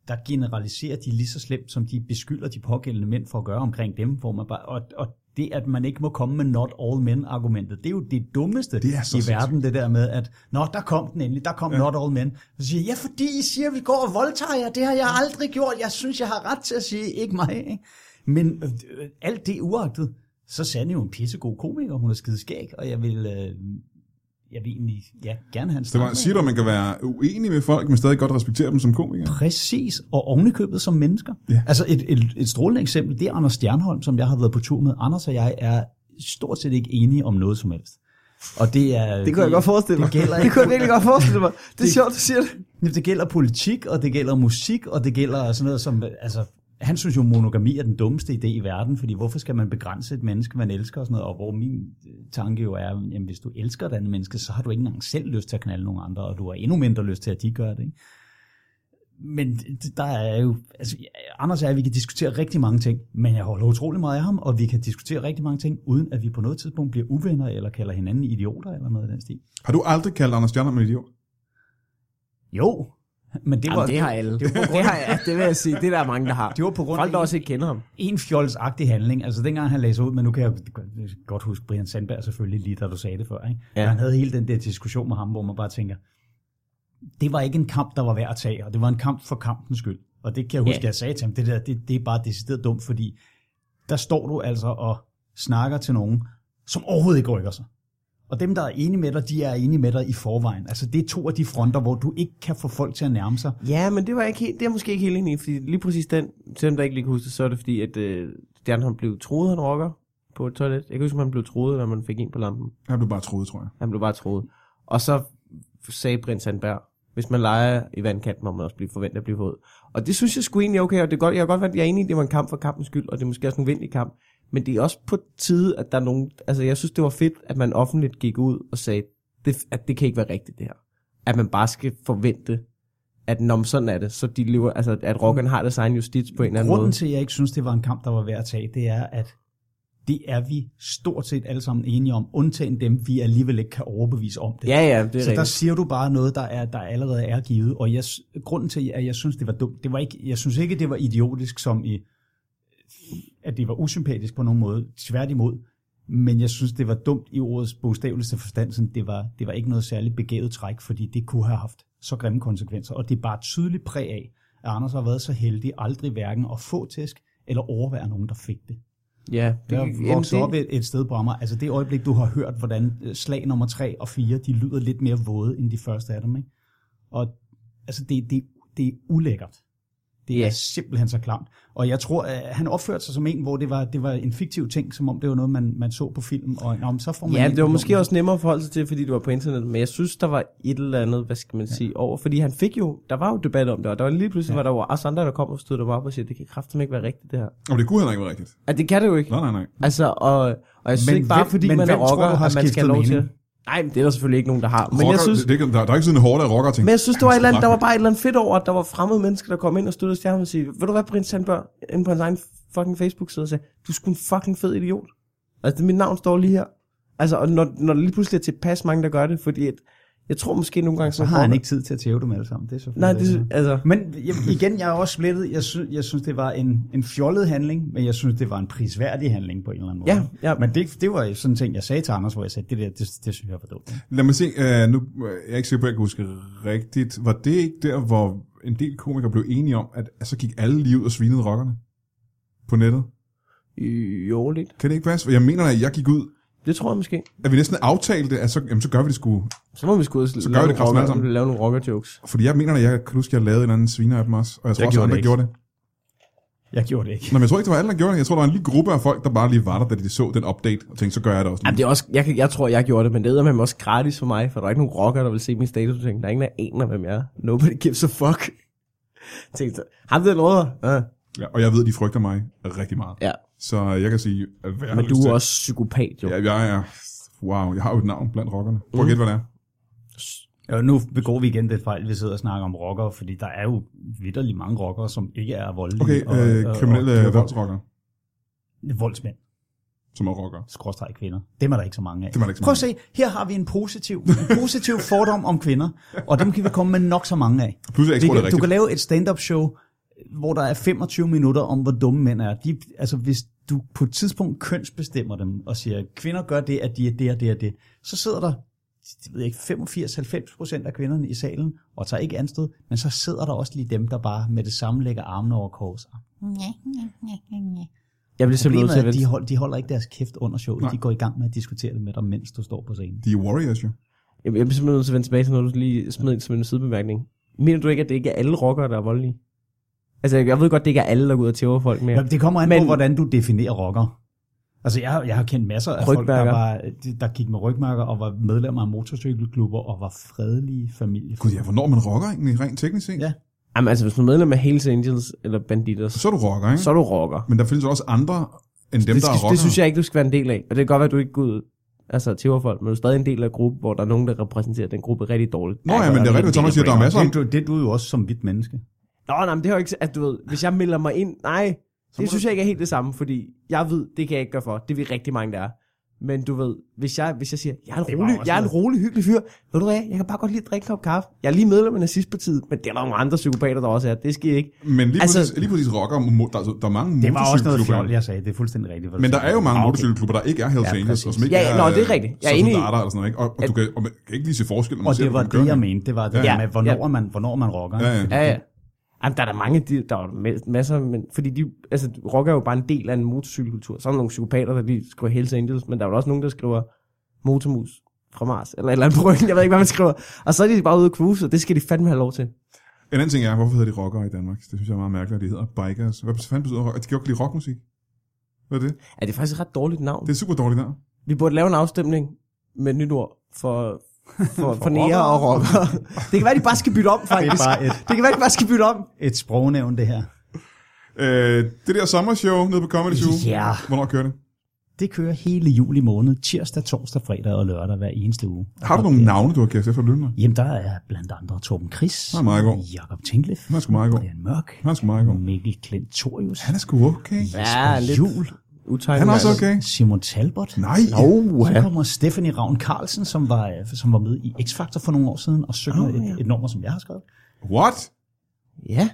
der generaliserer de lige så slemt, som de beskylder de pågældende mænd for at gøre omkring dem. Hvor man bare, og, og det, at man ikke må komme med not all men-argumentet, det er jo det dummeste Det er så i sindssygt. verden, det der med, at nå, der kom den endelig, der kom ja. not all men. Så siger jeg, ja, fordi I siger, at vi går og voldtager jer, det har jeg aldrig gjort, jeg synes, jeg har ret til at sige, ikke mig. Ikke? Men øh, øh, alt det uagtet, så Sanne er jo en pissegod komiker, hun er skideskæg, og jeg vil, øh, jeg vil egentlig ja, gerne have en Det snak var, med siger du, at man kan være uenig med folk, men stadig godt respektere dem som komikere? Præcis, og ovenikøbet som mennesker. Ja. Altså et, et, et strålende eksempel, det er Anders Stjernholm, som jeg har været på tur med. Anders og jeg er stort set ikke enige om noget som helst. Og det er... Det kunne jeg godt forestille mig. Det gælder Det ikke. kunne jeg virkelig godt forestille mig. Det er sjovt, du siger det. Jamen, Det gælder politik, og det gælder musik, og det gælder sådan noget som... Altså, han synes jo, monogami er den dummeste idé i verden, fordi hvorfor skal man begrænse et menneske, man elsker og sådan noget? Og hvor min øh, tanke jo er, jamen, hvis du elsker et andet menneske, så har du ikke engang selv lyst til at knalde nogen andre, og du har endnu mindre lyst til, at de gør det. Ikke? Men det- der er jo... Altså, ja, Anders og jeg, vi kan diskutere rigtig mange ting, men jeg holder utrolig meget af ham, og vi kan diskutere rigtig mange ting, uden at vi på noget tidspunkt bliver uvenner, eller kalder hinanden idioter, eller noget af den stil. Har du aldrig kaldt Anders Stjerner en idiot? Jo, men det var... Jamen, det har alle. Det, var på grund- det, har, ja, det vil jeg sige. Det er der mange, der har. Det var på grund af Folk, der en- også ikke kender ham. en fjolsagtig handling. Altså dengang han lagde sig ud, men nu kan jeg jo godt huske Brian Sandberg selvfølgelig lige, da du sagde det før. Ikke? Ja. Ja. Han havde hele den der diskussion med ham, hvor man bare tænker, det var ikke en kamp, der var værd at tage, og det var en kamp for kampens skyld. Og det kan jeg huske, Ja. jeg sagde til ham, det der, det, det er bare decideret dumt, fordi der står du altså og snakker til nogen, som overhovedet ikke rykker sig. Og dem, der er enige med dig, de er enige med dig i forvejen. Altså det er to af de fronter, hvor du ikke kan få folk til at nærme sig. Ja, men det var jeg ikke helt, det er jeg måske ikke helt enig i, fordi lige præcis den, selvom der ikke lige kan huske det, så er det fordi, at øh, Stjernholm blev troet, han rocker på et toilet. Jeg kan huske, om han blev troet, eller om han fik en på lampen. Har du bare troet, tror jeg. Han blev bare troet. Og så sagde Prins Sandberg, hvis man leger i vandkanten, må man også blive forventet at blive våd. Og det synes jeg sgu egentlig er okay, og det er godt, jeg kan godt være, at jeg er enig i, at det var en kamp for kampens skyld, og det er måske også en vindig kamp. Men det er også på tide, at der er nogen... Altså, jeg synes, det var fedt, at man offentligt gik ud og sagde, det, at det kan ikke være rigtigt, det her. At man bare skal forvente, at når sådan er det, så de lever, altså, at rockeren har deres egen justits på en eller anden Grunden måde. til, at jeg ikke synes, det var en kamp, der var værd at tage, det er, at det er vi stort set alle sammen enige om, undtagen dem, vi alligevel ikke kan overbevise om det. Ja, ja, det er så der rigtigt. siger du bare noget, der, er, der allerede er givet. Og jeg, s- grunden til, at jeg synes, det var dumt, det var ikke, jeg synes ikke, det var idiotisk, som i, at det var usympatisk på nogen måde. Tværtimod. Men jeg synes, det var dumt i ordets bogstaveligste forstand. Sådan, det, var, det var ikke noget særligt begavet træk, fordi det kunne have haft så grimme konsekvenser. Og det er bare tydeligt præg af, at Anders har været så heldig aldrig hverken at få tæsk eller overvære nogen, der fik det. Ja, det, Jeg er jamen, vokset op et, et sted på Amager. Altså det øjeblik, du har hørt, hvordan øh, slag nummer 3 og 4, de lyder lidt mere våde, end de første af dem. Ikke? Og altså det, det, det er ulækkert. Det er Ja. simpelthen så klamt. Og jeg tror, at han opførte sig som en, hvor det var, det var en fiktiv ting, som om det var noget, man, man så på film. Og om, så får man Ja, en det var på måske lommen. også nemmere at forholde sig til, fordi det var på internettet, men jeg synes, der var et eller andet, hvad skal man ja. sige, over. Fordi han fik jo, der var jo debat om det, og der var lige pludselig, ja. var der jo også andre, der kom og stod der op og siger, det kan kraften ikke være rigtigt, det her. Og det kunne heller ikke være rigtigt. Altså, det kan det jo ikke. Nej, nej, nej. Altså, og, og jeg synes Men ikke bare, hvem- fordi men man er hvem tror rocker, du har at man skal skiftet have lov til. mening? Nej, men det er der selvfølgelig ikke nogen, der har. Men rocker, jeg synes, det, det, der, der er ikke sådan en hårde rocker ting. men jeg synes, der var, et eller andet, der var bare... bare et eller andet fedt over, at der var fremmede mennesker, der kom ind og stod og stjerne og sige, ved du hvad, Prins Sandberg, inde på hans egen fucking Facebook-side og sagde, du er sgu en fucking fed idiot. Altså, det, mit navn står lige her. Altså, og når, når der lige pludselig er tilpas mange, der gør det, fordi at, jeg tror måske nogle gange, Så har han ikke tid til at tæve dem alle sammen. Det er så Nej, fedt, ikke? det, altså, Men jeg- igen, jeg er også splittet. Jeg synes, jeg synes det var en, en fjollet handling, men jeg synes, det var en prisværdig handling på en eller anden måde. Ja, ja. Men det, det var sådan en ting, jeg sagde til Anders, hvor jeg sagde, det der, det, det synes jeg var dumt. Lad mig se, uh, nu øh, jeg er ikke sikker på, at jeg kan huske rigtigt. Var det ikke der, hvor en del komikere blev enige om, at at så gik alle lige ud og svinede rockerne på nettet? jo lidt. Kan det ikke passe? For Jeg mener, at jeg gik ud, Det tror jeg måske. at vi næsten aftalte, at så, jamen, så gør vi det sgu. Så må vi sgu ud og gør vi lave, det kraften nogle alle rocker, sammen. lave nogle rocker-jokes. Fordi jeg mener, at jeg kan huske, at jeg lavede en eller anden sviner af dem også. Og jeg tror Jeg jeg også, gjorde andre det ikke. gjorde det. Jeg gjorde det ikke. Nå, men jeg tror ikke, det var alle, der gjorde det. Jeg tror, der var en lille gruppe af folk, der bare lige var der, da de så den update, og tænkte, så gør jeg det også. Jamen, det er også, jeg, kan- jeg tror, jeg gjorde det, men det er med også gratis for mig, for der er ikke nogen rocker, der vil se min status. Jeg tænkte, der er ingen, der aner, hvem jeg er. Nobody gives a fuck. Jeg tænkte, ham der noget. Ja. Ja, og jeg ved, de frygter mig rigtig meget. ja. Så jeg kan sige, at hvad jeg Men har du lyst er til. også psykopat, jo. Ja, jeg er... Wow, jeg har jo et navn blandt rockerne. Prøv at gætte, hvad det er. Mm. Og nu begår vi igen det fejl, vi sidder og snakker om rockere, fordi der er jo vidderligt mange rockere, som ikke er voldelige. Okay, og, øh, og- kriminelle og- og- voldsrockere, Voldsmænd, som er rockere. skråstrej kvinder. Dem er der ikke så mange af. Dem er der ikke så Prøv at se, her har vi en positiv, en positiv fordom om kvinder, og dem kan vi komme med nok så mange af. Pludselig jeg ikke Vi tror, det er kan, du kan rigtigt. lave et stand-up show, hvor der er 25 minutter om, hvor dumme mænd er. De, altså, hvis du på et tidspunkt kønsbestemmer dem og siger, kvinder gør det, at de er det og det og det, så sidder der det ved jeg ikke, 85-90 procent af kvinderne i salen og tager ikke anstød, men så sidder der også lige dem, der bare med det samme lægger armene over kors. Jeg bliver simpelthen Problemet nødt til at er, at de, vente. hold, de holder ikke deres kæft under showet. Nej. De går i gang med at diskutere det med dig, mens du står på scenen. De er warriors jo. Jeg bliver simpelthen nødt til at vende tilbage til noget, du lige smed ind som en sidebemærkning. Mener du ikke, at det ikke er alle rockere, der er voldelige? Altså, jeg, jeg ved godt, det ikke er alle, der går ud og tæver folk mere. Ja, det kommer an Men- men, på, hvordan du definerer rocker. Altså, jeg, har- jeg har kendt masser af folk, der, Rygmærker. var, der gik med rygmærker og var medlemmer af motorcykelklubber og var fredelige familier. Gud, ja, hvornår er man rocker egentlig, rent teknisk set? Ja. Jamen, altså, hvis du er medlem af Hells Angels eller Banditers, Så er du rocker, ikke? så er du rocker. Men der findes også andre end dem, det, der skal, er rocker. det synes jeg ikke, du skal være en del af. Og det kan godt være, at du ikke går ud altså, til folk, men du er stadig en del af en gruppe, hvor der er nogen, der repræsenterer den gruppe rigtig dårligt. Altså, Nå ja, men det er rigtigt, Thomas siger, der er masser Det, om. du- det er du jo også som hvidt menneske. Nå, nej, men det har jo ikke... At du ved, hvis jeg melder mig ind... Nej, det synes jeg ikke er helt det samme, fordi jeg ved, det kan jeg ikke gøre for. Det ved rigtig mange, der er. Men du ved, hvis jeg, hvis jeg siger, jeg er Det en var rolig, også jeg er en noget. rolig hyggelig fyr, ved du hvad, jeg kan bare godt lide at drikke en kop kaffe. Jeg er lige medlem af nazistpartiet, men det er der nogle andre psykopater, der også er. Det skal I ikke. Men lige, Altså- præcis, lige præcis rocker, mo- der, er, der er mange Det var også noget motorcykelklubber. fjol, jeg sagde. Det er fuldstændig rigtigt. hvad du Men der siger. er jo mange Ah, okay. motorcykelklubber, der ikke er Hells Ja, Angels, og som ikke præcis. Ja, er, ja, nå, det er rigtigt. Jeg er sådan enig i- starter eller sådan noget, ikke? Og, og, du kan, og man kan ikke lige se forskel, når man Og ser, det var hvordan de det, kører. jeg mente. Det var det Ja. der med, hvornår Ja. er man, hvornår er man rocker. Ja, ja. Ja, ja. Jamen, der er der mange, de, der er ma- masser, men, fordi de, altså, rocker er jo bare en del af en motorcykelkultur. Så er der nogle psykopater, der lige skriver Hells Angels, men der er jo også nogen, der skriver motormus fra Mars, eller et eller andet på ryggen, jeg ved ikke, hvad man skriver. Og så er de bare ude at cruise, og det skal de fandme have lov til. En anden ting er, hvorfor hedder de rockere i Danmark? Det synes jeg er meget mærkeligt, at de hedder bikers. Hvad fanden betyder rock? De kan jo ikke lide rockmusik. Hvad er det? Ja, det er faktisk et ret dårligt navn. Det er super dårligt der. Vi burde lave en afstemning med et nyt ord for, for, for, for nære og rockere. Det kan være, de bare skal bytte om, Det faktisk. er bare et, Det kan være, de bare skal bytte om. et sprognævn, det her. Øh, det der sommershow nede på Comedy Zoo. Ja. Hvornår kører det? Det kører hele juli måned, tirsdag, torsdag, fredag og lørdag hver eneste uge. Har du nogle navne, du har kastet efter lønner? Jamen, der er blandt andre Torben Chris, Han er meget god. Jakob Tinglef, Han er sgu meget god. Brian Mørk, Han er sgu meget god. Mikkel Klintorius, Han er sgu okay. Ja, lidt Jul, utegnet. Han er også okay. Simon Talbot. Nej. Så kommer Stephanie Ravn Carlsen, som var, øh, som var med i X-Factor for nogle år siden, og synger oh, ja. et, et nummer, som jeg har skrevet. What? Ja.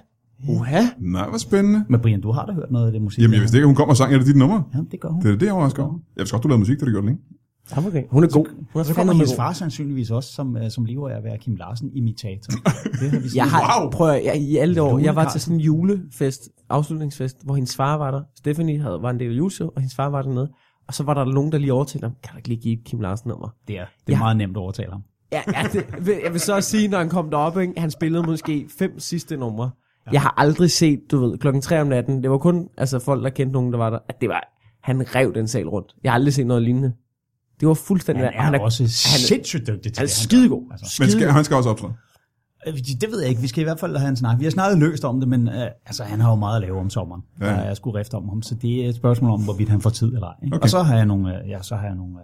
Uha. Nej, hvor spændende. Men Brian, du har da hørt noget af det musik? Jamen, jeg der- vidste ikke, at hun kom og sang, er det dit nummer? Ja, det gør hun. Det er det, jeg overrasker over. Jeg vidste godt, du lavede musik, da du gjorde det længe. Ham okay. Hun er god. Hun er Så kommer fandme hendes god. far sandsynligvis også, som, øh, som lever af at være Kim Larsen-imitator. Det har vi set. Jeg har, Wow. wow. prøv at, jeg, i alle år, jeg var Julekarten. til sådan en julefest, afslutningsfest, hvor hendes far var der. Stephanie havde, var en del af juleshow, og hendes far var dernede. Og så var der nogen, der lige overtalte ham, kan du ikke lige give et Kim Larsen nummer? Det er, det er Ja. meget nemt at overtale ham. Ja, ja det, vil- jeg vil så også sige, når han kom derop, ikke, han spillede måske fem sidste numre. Ja. Jeg har aldrig set, du ved, klokken 3 om natten, det var kun altså, folk, der kendte nogen, der var der, at det var, han rev den sal rundt. Jeg har aldrig set noget lignende. Det var fuldstændig... Han er, han er også sindssygt dygtig til han er det, skidegod. gør. Altså. Men skal, Skide- han skal også optræde. Øh, Det ved jeg ikke. Vi skal i hvert fald have en snak. Vi har snakket løst om det, men øh, altså, han har jo meget at lave om sommeren. Ja. Ja. Der er sgu rift om ham, så det er et spørgsmål om, hvorvidt han får tid eller ej. Ikke? Okay. Og så har jeg nogle, øh, ja, så har jeg nogle øh,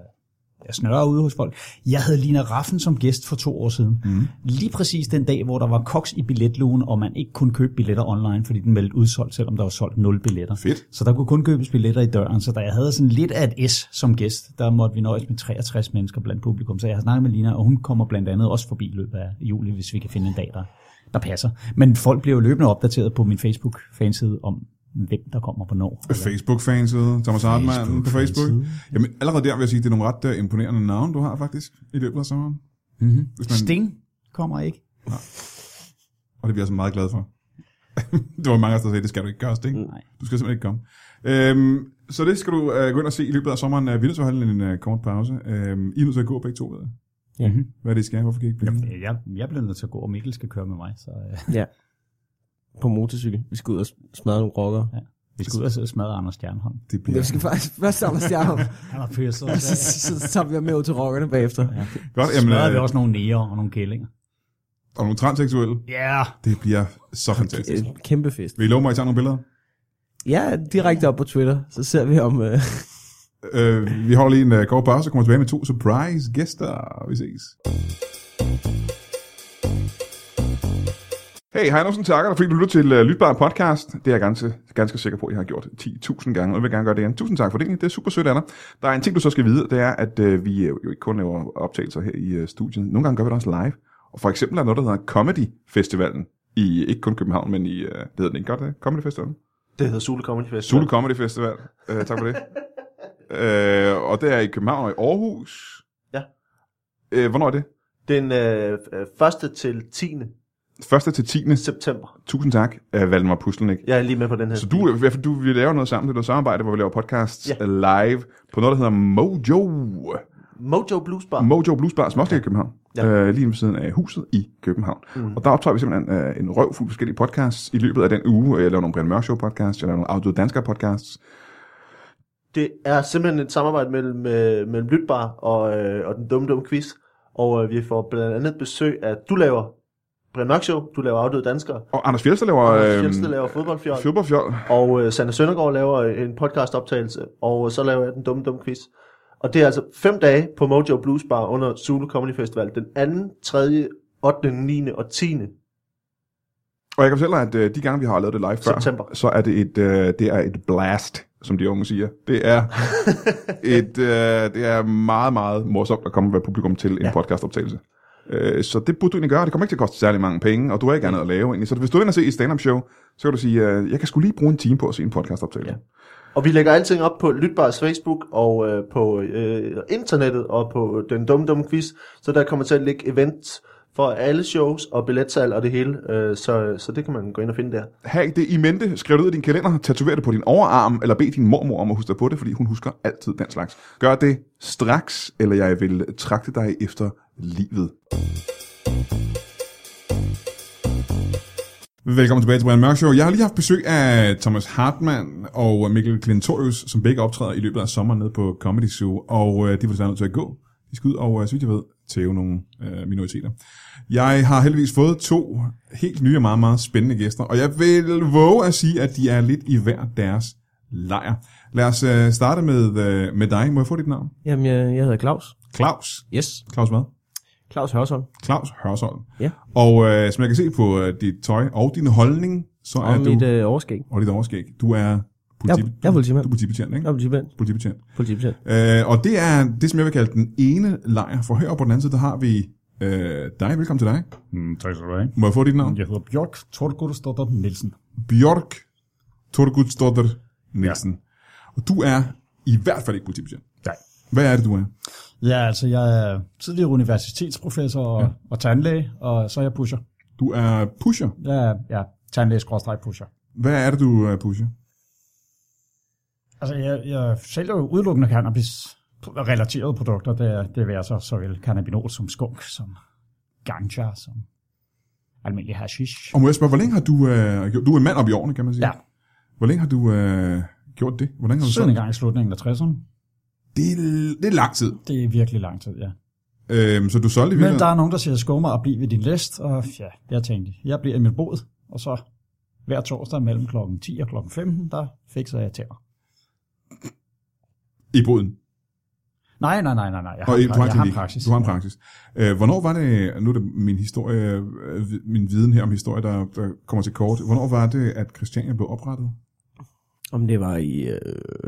jeg snørrer ude hos folk. Jeg havde Lina Raffen som gæst for to år siden. Mhm. Mm. Lige præcis den dag, hvor der var koks i billetlugen, og man ikke kunne købe billetter online, fordi den meldte udsolgt, selvom der var solgt nul billetter. Fedt. Så der kunne kun købes billetter i døren, så da jeg havde sådan lidt af et S som gæst, der måtte vi nøjes med 63 mennesker blandt publikum. Så jeg har snakket med Lina, og hun kommer blandt andet også forbi i løbet af juli, hvis vi kan finde en dag, der, der passer. Men folk bliver jo løbende opdateret på min Facebook-fanside om, hvem der kommer hvornår. Facebook-fanside, Thomas Hartmann på Facebook. Facebook-fanside. Jamen, allerede der vil jeg sige, at det er nogle ret øh, imponerende navne, du har faktisk i løbet af sommeren. Mm-hmm. Hvis man, Sting kommer ikke. og det bliver jeg så meget glad for. det var mange af os, der sagde, det skal du ikke gøre, Sting. Nej. Du skal simpelthen ikke komme. Øhm, så det skal du øh, gå ind og se i løbet af sommeren. Øh, Vi er nødt til at holde en øh, kort pause. Øhm, I er nødt til at gå begge to, ved jeg. Ja. Mhm. Hvad er det, I skal? Hvorfor kan I ikke blive? enige? Øh, Jeg, jeg bliver nødt til at gå, og Mikkel skal køre med mig. Så, øh. Ja. På motorcykel. Vi skal ud og smadre nogle rockere. Ja. Vi skal ud og sidde og smadre Anders Stjernholm. Det Men bliver vi skal faktisk først samle stjerner, Han var pyrset. og så, så, så tager vi ham med ud til rockerne bagefter. Ja. godt. Så Jamen, smadrede vi øh, også nogle næger og nogle kællinger. og nogle transseksuelle. Ja, yeah. Det bliver så fantastisk. Kæmpe fest. Vil I love mig, at I tager nogle billeder? Ja, direkte op på Twitter, så ser vi om... Øh, Øh, vi holder lige en øh, kort pause og kommer tilbage med to surprise gæster. Vi ses. Hey, Hej Andersen takker dig, fordi du lytter til uh, Lytbar Podcast. Det er jeg ganske, ganske sikker på, at jeg har gjort 10.000 gange, og jeg vil gerne gøre det igen. Tusind tak for det. Det er super sødt af dig. Der er en ting, du så skal vide, det er, at uh, vi øh, jo ikke kun laver optagelser her i uh, studiet. Nogle gange gør vi det også live. Og for eksempel er der noget, der hedder Comedy Festivalen. I, ikke kun København, men i, uh, det hedder den ikke godt, uh, Comedy Festivalen? Det hedder Sule Comedy Festival. Zulu Comedy Festival. Øh, tak for det. øh, og det er i København og i Aarhus. Ja. Øh, hvornår er det? Den øh, øh, første til 10. 1. til 10. september. Tusind tak, øh, Valdemar Puslenik. Jeg er lige med på den her. Så du, i hvert fald, du, vi laver noget sammen, det er noget samarbejde, hvor vi laver podcasts ja. Ja. live på noget, der hedder Mojo. Mojo Blues Bar. Mojo Blues Bar, som også ligger i København. Ja. Ja. Øh, lige ved siden af huset i København. Mm. Og der optager vi simpelthen øh, en røvfuld forskellige podcasts i løbet af den uge. Jeg laver nogle Brian Mørk Show podcasts, jeg laver nogle Audio Dansker podcasts. det er simpelthen et samarbejde mellem, øh, mellem Lytbar og, øh, og den dumme dumme quiz. Og øh, vi får blandt andet besøg af, du laver Brian Mørk Show, du laver Afdøde Danskere, Og Anders Fjeldsted laver, og øh, øh, Fjeldsted laver Fodboldfjold, Fjolberfjold. og øh, Sanne Søndergaard laver en podcastoptagelse, og øh, så laver jeg den dumme dumme quiz. Og det er altså fem dage på Mojo Blues Bar under Zulu Comedy Festival, den 2., 3., 8., 9. og 10. Og jeg kan fortælle dig, at øh, de gange, vi har lavet det live før, September. så er det et, øh, det er et blast, som de unge siger. Det er, et, øh, det er meget, meget morsomt at komme og være publikum til en ja. Ja. podcastoptagelse. Øh, så det burde du egentlig gøre. Det kommer ikke til at koste særlig mange penge, og du har ikke andet at lave egentlig. Så hvis du vil ind og se et stand-up show, så kan du sige, øh, jeg kan skulle lige bruge en time på at se en podcastoptagelse. Ja. Og vi lægger alting op på Lytbars Facebook og øh, på øh, internettet og på den dumme dumme quiz. Så der kommer til at ligge events for alle shows og billetsal og det hele. Øh, så, så det kan man gå ind og finde der. Hav det i mente, skriv det ud i din kalender, tatover det på din overarm, eller bed din mormor om at huske dig på det, fordi hun husker altid den slags. Gør det straks, eller jeg vil trakte dig efter livet. Velkommen tilbage til Brian Mørk Show. Jeg har lige haft besøg af Thomas Hartmann og Mikkel Klintorius, som begge optræder i løbet af sommeren nede på Comedy Zoo, og øh, de var desværre nødt til at gå. De skal ud og, øh, så vidt jeg ved, tæve nogle øh, minoriteter. Jeg har heldigvis fået to helt nye og meget, meget spændende gæster, og jeg vil våge at sige, at de er lidt i hver deres lejr. Lad os øh, starte med, øh, med dig. Må jeg få dit navn? jamen, jeg, jeg hedder Claus. Claus. Yes. Claus hvad? Claus Hørsholm. Claus Hørsholm. Ja. Og øh, som jeg kan se på øh, dit tøj og din holdning, så Og er du... mit øh, overskæg. og dit overskæg. Du er, politi- Jeg- jeg er politimand. Du er politibetjent, ikke? Jeg er politibetjent. Politibetjent. Politibetjent. Øh, og det er det, som jeg vil kalde den ene lejr. For herovre på den anden side, der har vi øh, dig. Velkommen til dig. Mm, tak skal du have. Må jeg få dit navn? Ja. Jeg hedder Bjørk Torgurstotter Nielsen. Bjørk Torgudsdotter Nielsen. Ja. Og du er i hvert fald ikke politibetjent. Nej. Hvad er det, du er? Ja, altså jeg er tidligere universitetsprofessor og, ja. og tandlæge, og så er jeg pusher. Du er pusher. Jeg er ja, tandlæge-pusher. Hvad er det, du er pusher? Altså jeg, jeg sælger jo udelukkende cannabis-relaterede produkter, det, er- det vil så såvel cannabinol som skunk, som ganja, som almindelig hashish. Og må jeg spørge, hvor længe har du... Øh, gjort- du er en mand op i årene, kan man sige. Ja. Hvor længe har du øh, gjort det? Hvor længe har du Siden en solgt? gang i slutningen af 60'erne. Det er, det er lang tid. Det er virkelig lang tid, ja. Øhm, så du solgte i Men der virkeligheden- er nogen, der siger, skummer og bliv ved din læst, og ja, jeg tænkte, jeg bliver i min bod, og så hver torsdag mellem klokken 10 og klokken 15, der fikser jeg tænder. I boden. Nej, nej, nej, nej, nej, jeg har, Og i, en, du har, pra- en jeg har en klinik. praksis. Du har en praksis. Øh, hvornår var det, nu er det min, historie, øh, vi- min viden her om historie, der, der kommer til kort. Hvornår var det, at Christiania blev oprettet? Om det var i... Øh,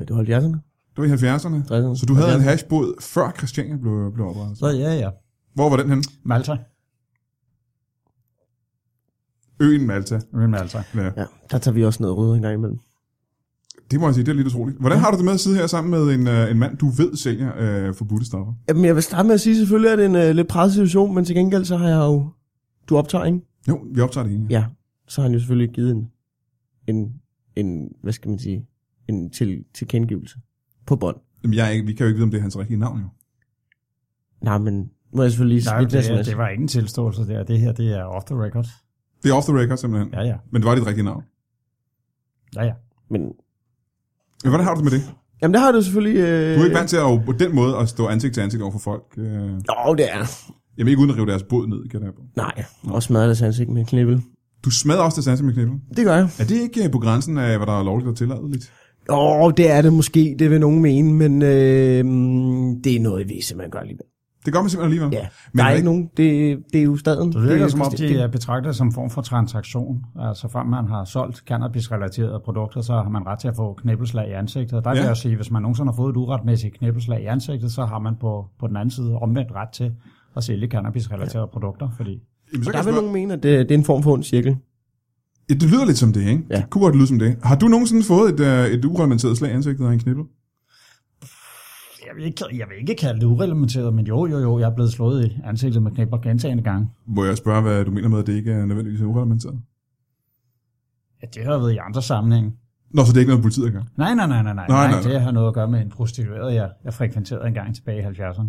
det var 70'erne? Det var i 70'erne. 60'erne? Så du havde en hashbåd, før Christiania blev, blev oprettet. Så ja, ja, Hvor var den henne? Malta, Øen Malta. øen Malta. Ja. Ja, der tager vi også noget rød en gang imellem. Det må jeg sige, det er lidt utroligt. Hvordan har du det med at sidde her sammen med en, øh, en mand, du ved sælger øh, forbudte stoffer? Jamen, jeg vil starte med at sige, selvfølgelig er det en øh, lidt presset situation, men til gengæld så har jeg jo... Du optager, ikke? Jo, vi optager det hele. Ja. Så har han jo selvfølgelig givet en... En... en hvad skal man sige? En til, tilkendegivelse. På bånd. Jamen, jeg er ikke, vi kan jo ikke vide, om det er hans rigtige navn, jo. Nej, men må jeg selvfølgelig lige Nej, lidt det, sms. det var ingen tilståelse der, det her, det er off the record. Det er off the record, simpelthen. Ja, ja, Men det var dit rigtige navn. ja, ja. Men Men hvordan har du det med det? Jamen, der har du selvfølgelig... Øh... Du er ikke vant til at, på den måde at stå ansigt til ansigt over for folk. Øh, Jo, det er. jamen ikke uden at rive deres båd ned, kan jeg på. Nej, og smadrer deres ansigt med en knibbel. Du smadrer også det sanse med knippen. Det gør jeg. Er det ikke øh, på grænsen af, hvad der er lovligt og tilladeligt? Åh, det er det måske, det vil nogen mene, men øh, det er noget, vi simpelthen gør alligevel. Det gør man simpelthen alligevel. Ja, Men men der er er ikke ikke- nogen, det, det er jo staden. Det virker er, som om, de det, er betragtet som en form for transaktion. Altså frem man har solgt cannabis-relaterede produkter, så har man ret til at få knæbelslag i ansigtet. Der vil Ja. jeg sige, hvis man nogensinde har fået et uretmæssigt knæbelslag i ansigtet, så har man på, på den anden side omvendt ret til at sælge cannabis-relaterede produkter. Fordi Jamen, så kan der jeg vil spørge, nogen mene, at det, det er en form for ond cirkel. ja, det lyder lidt som det, ikke? Ja. Det kunne godt lyde som det. Har du nogensinde fået et, øh, et ureglementeret slag i ansigtet af en knippel? jeg vil, ikke, jeg vil ikke kalde det urelementeret, men jo, jo, jo, jeg er blevet slået i ansigtet med knæbler gentagende gange. Må jeg spørge, hvad du mener med, at det ikke er nødvendigvis er ureglementeret? Ja, det har jeg været i andre sammenhænge. Nå, så det er ikke noget, politiet gør. Nej, nej, nej, nej, Nej, nej, nej, nej, nej. nej. Det har noget at gøre med en prostitueret, jeg, jeg frekventerede en gang tilbage i 70'erne.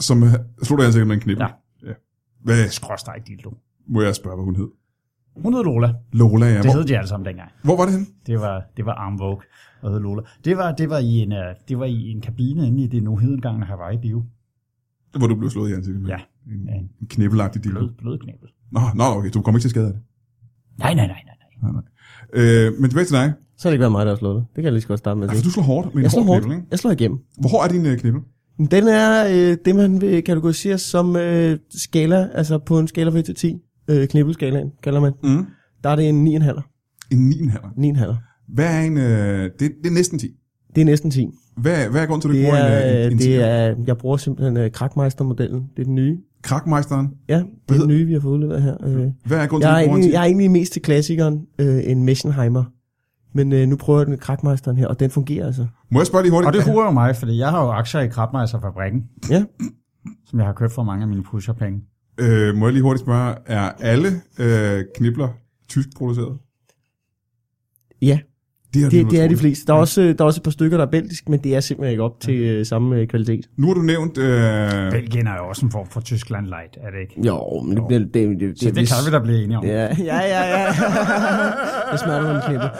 Som øh, slog dig i ansigtet med en knippel? Ja. ja. Hvad Skråstrej dildo. må jeg spørge, hvad hun hed? Hun hed Lola. Lola, ja. Det Hvor, hed de alle sammen dengang. hvor var det henne? Det var, det var Arm Vogue og hed Lola. Det var, det var, i en, øh, det var i en kabine inde i det nu hedengangne Hawaii Bio. Hvor du blev slået i ansigtet med Ja. en, Ja. en knippelagtig dildo. Blød, blød knæbel. Nå, nå, okay, du kommer ikke til skade af det. Nej, nej, nej, nej. nej. Øh, men tilbage til dig. Så har det ikke været mig, der har slået det. Det kan jeg lige så godt starte med. Ja, at for Altså, sige. du slår hårdt med en Altså- Jeg slår hård hårdt. knippel, ikke? Jeg slår igennem. Hvor hård er din øh, knippel? Den er øh, det, man vil kategorisere som øh, skala, altså på en skala fra 1 til 10. Øh, knibbelskalaen kalder man. Mm. Der er det en 9,5. En 9,5. 9,5. Hvad er en... Øh, det, det er næsten 10. Det er næsten 10. Hvad, hvad er grunden til, at du Det bruger en, øh, er, en, en øh, 10? det er, jeg bruger simpelthen øh, krakmeistermodellen. Det er den nye. Krakmeisteren. Ja, det er hedder- den nye, vi har fået udleveret her. Øh, Hvad er grunden til, jeg, er at du bruger en egentlig, 10? jeg er egentlig mest til klassikeren, øh, en Meschenheimer. Men øh, nu prøver jeg den med krakmeisteren her, og den fungerer altså. Må jeg spørge lige hurtigt? Og det huer jo mig, fordi jeg har jo aktier i Krabmeiserfabrikken, Ja, som jeg har købt for mange af mine pusherpenge. øh, må jeg lige hurtigt spørge, er alle øh, knibler tysk produceret? ja Det er, det, det er de fleste. Der er, også, øh, der er også et par stykker, der er belgisk, men det er simpelthen ikke op til øh, samme øh, kvalitet. Nu har du nævnt... Øh, Belgien er jo også en form for Tyskland light, er det ikke? Jo, men det, det, det, det, Så det kan vi da blive enige om. Ja, ja, ja, ja. Jeg smager med en klippe.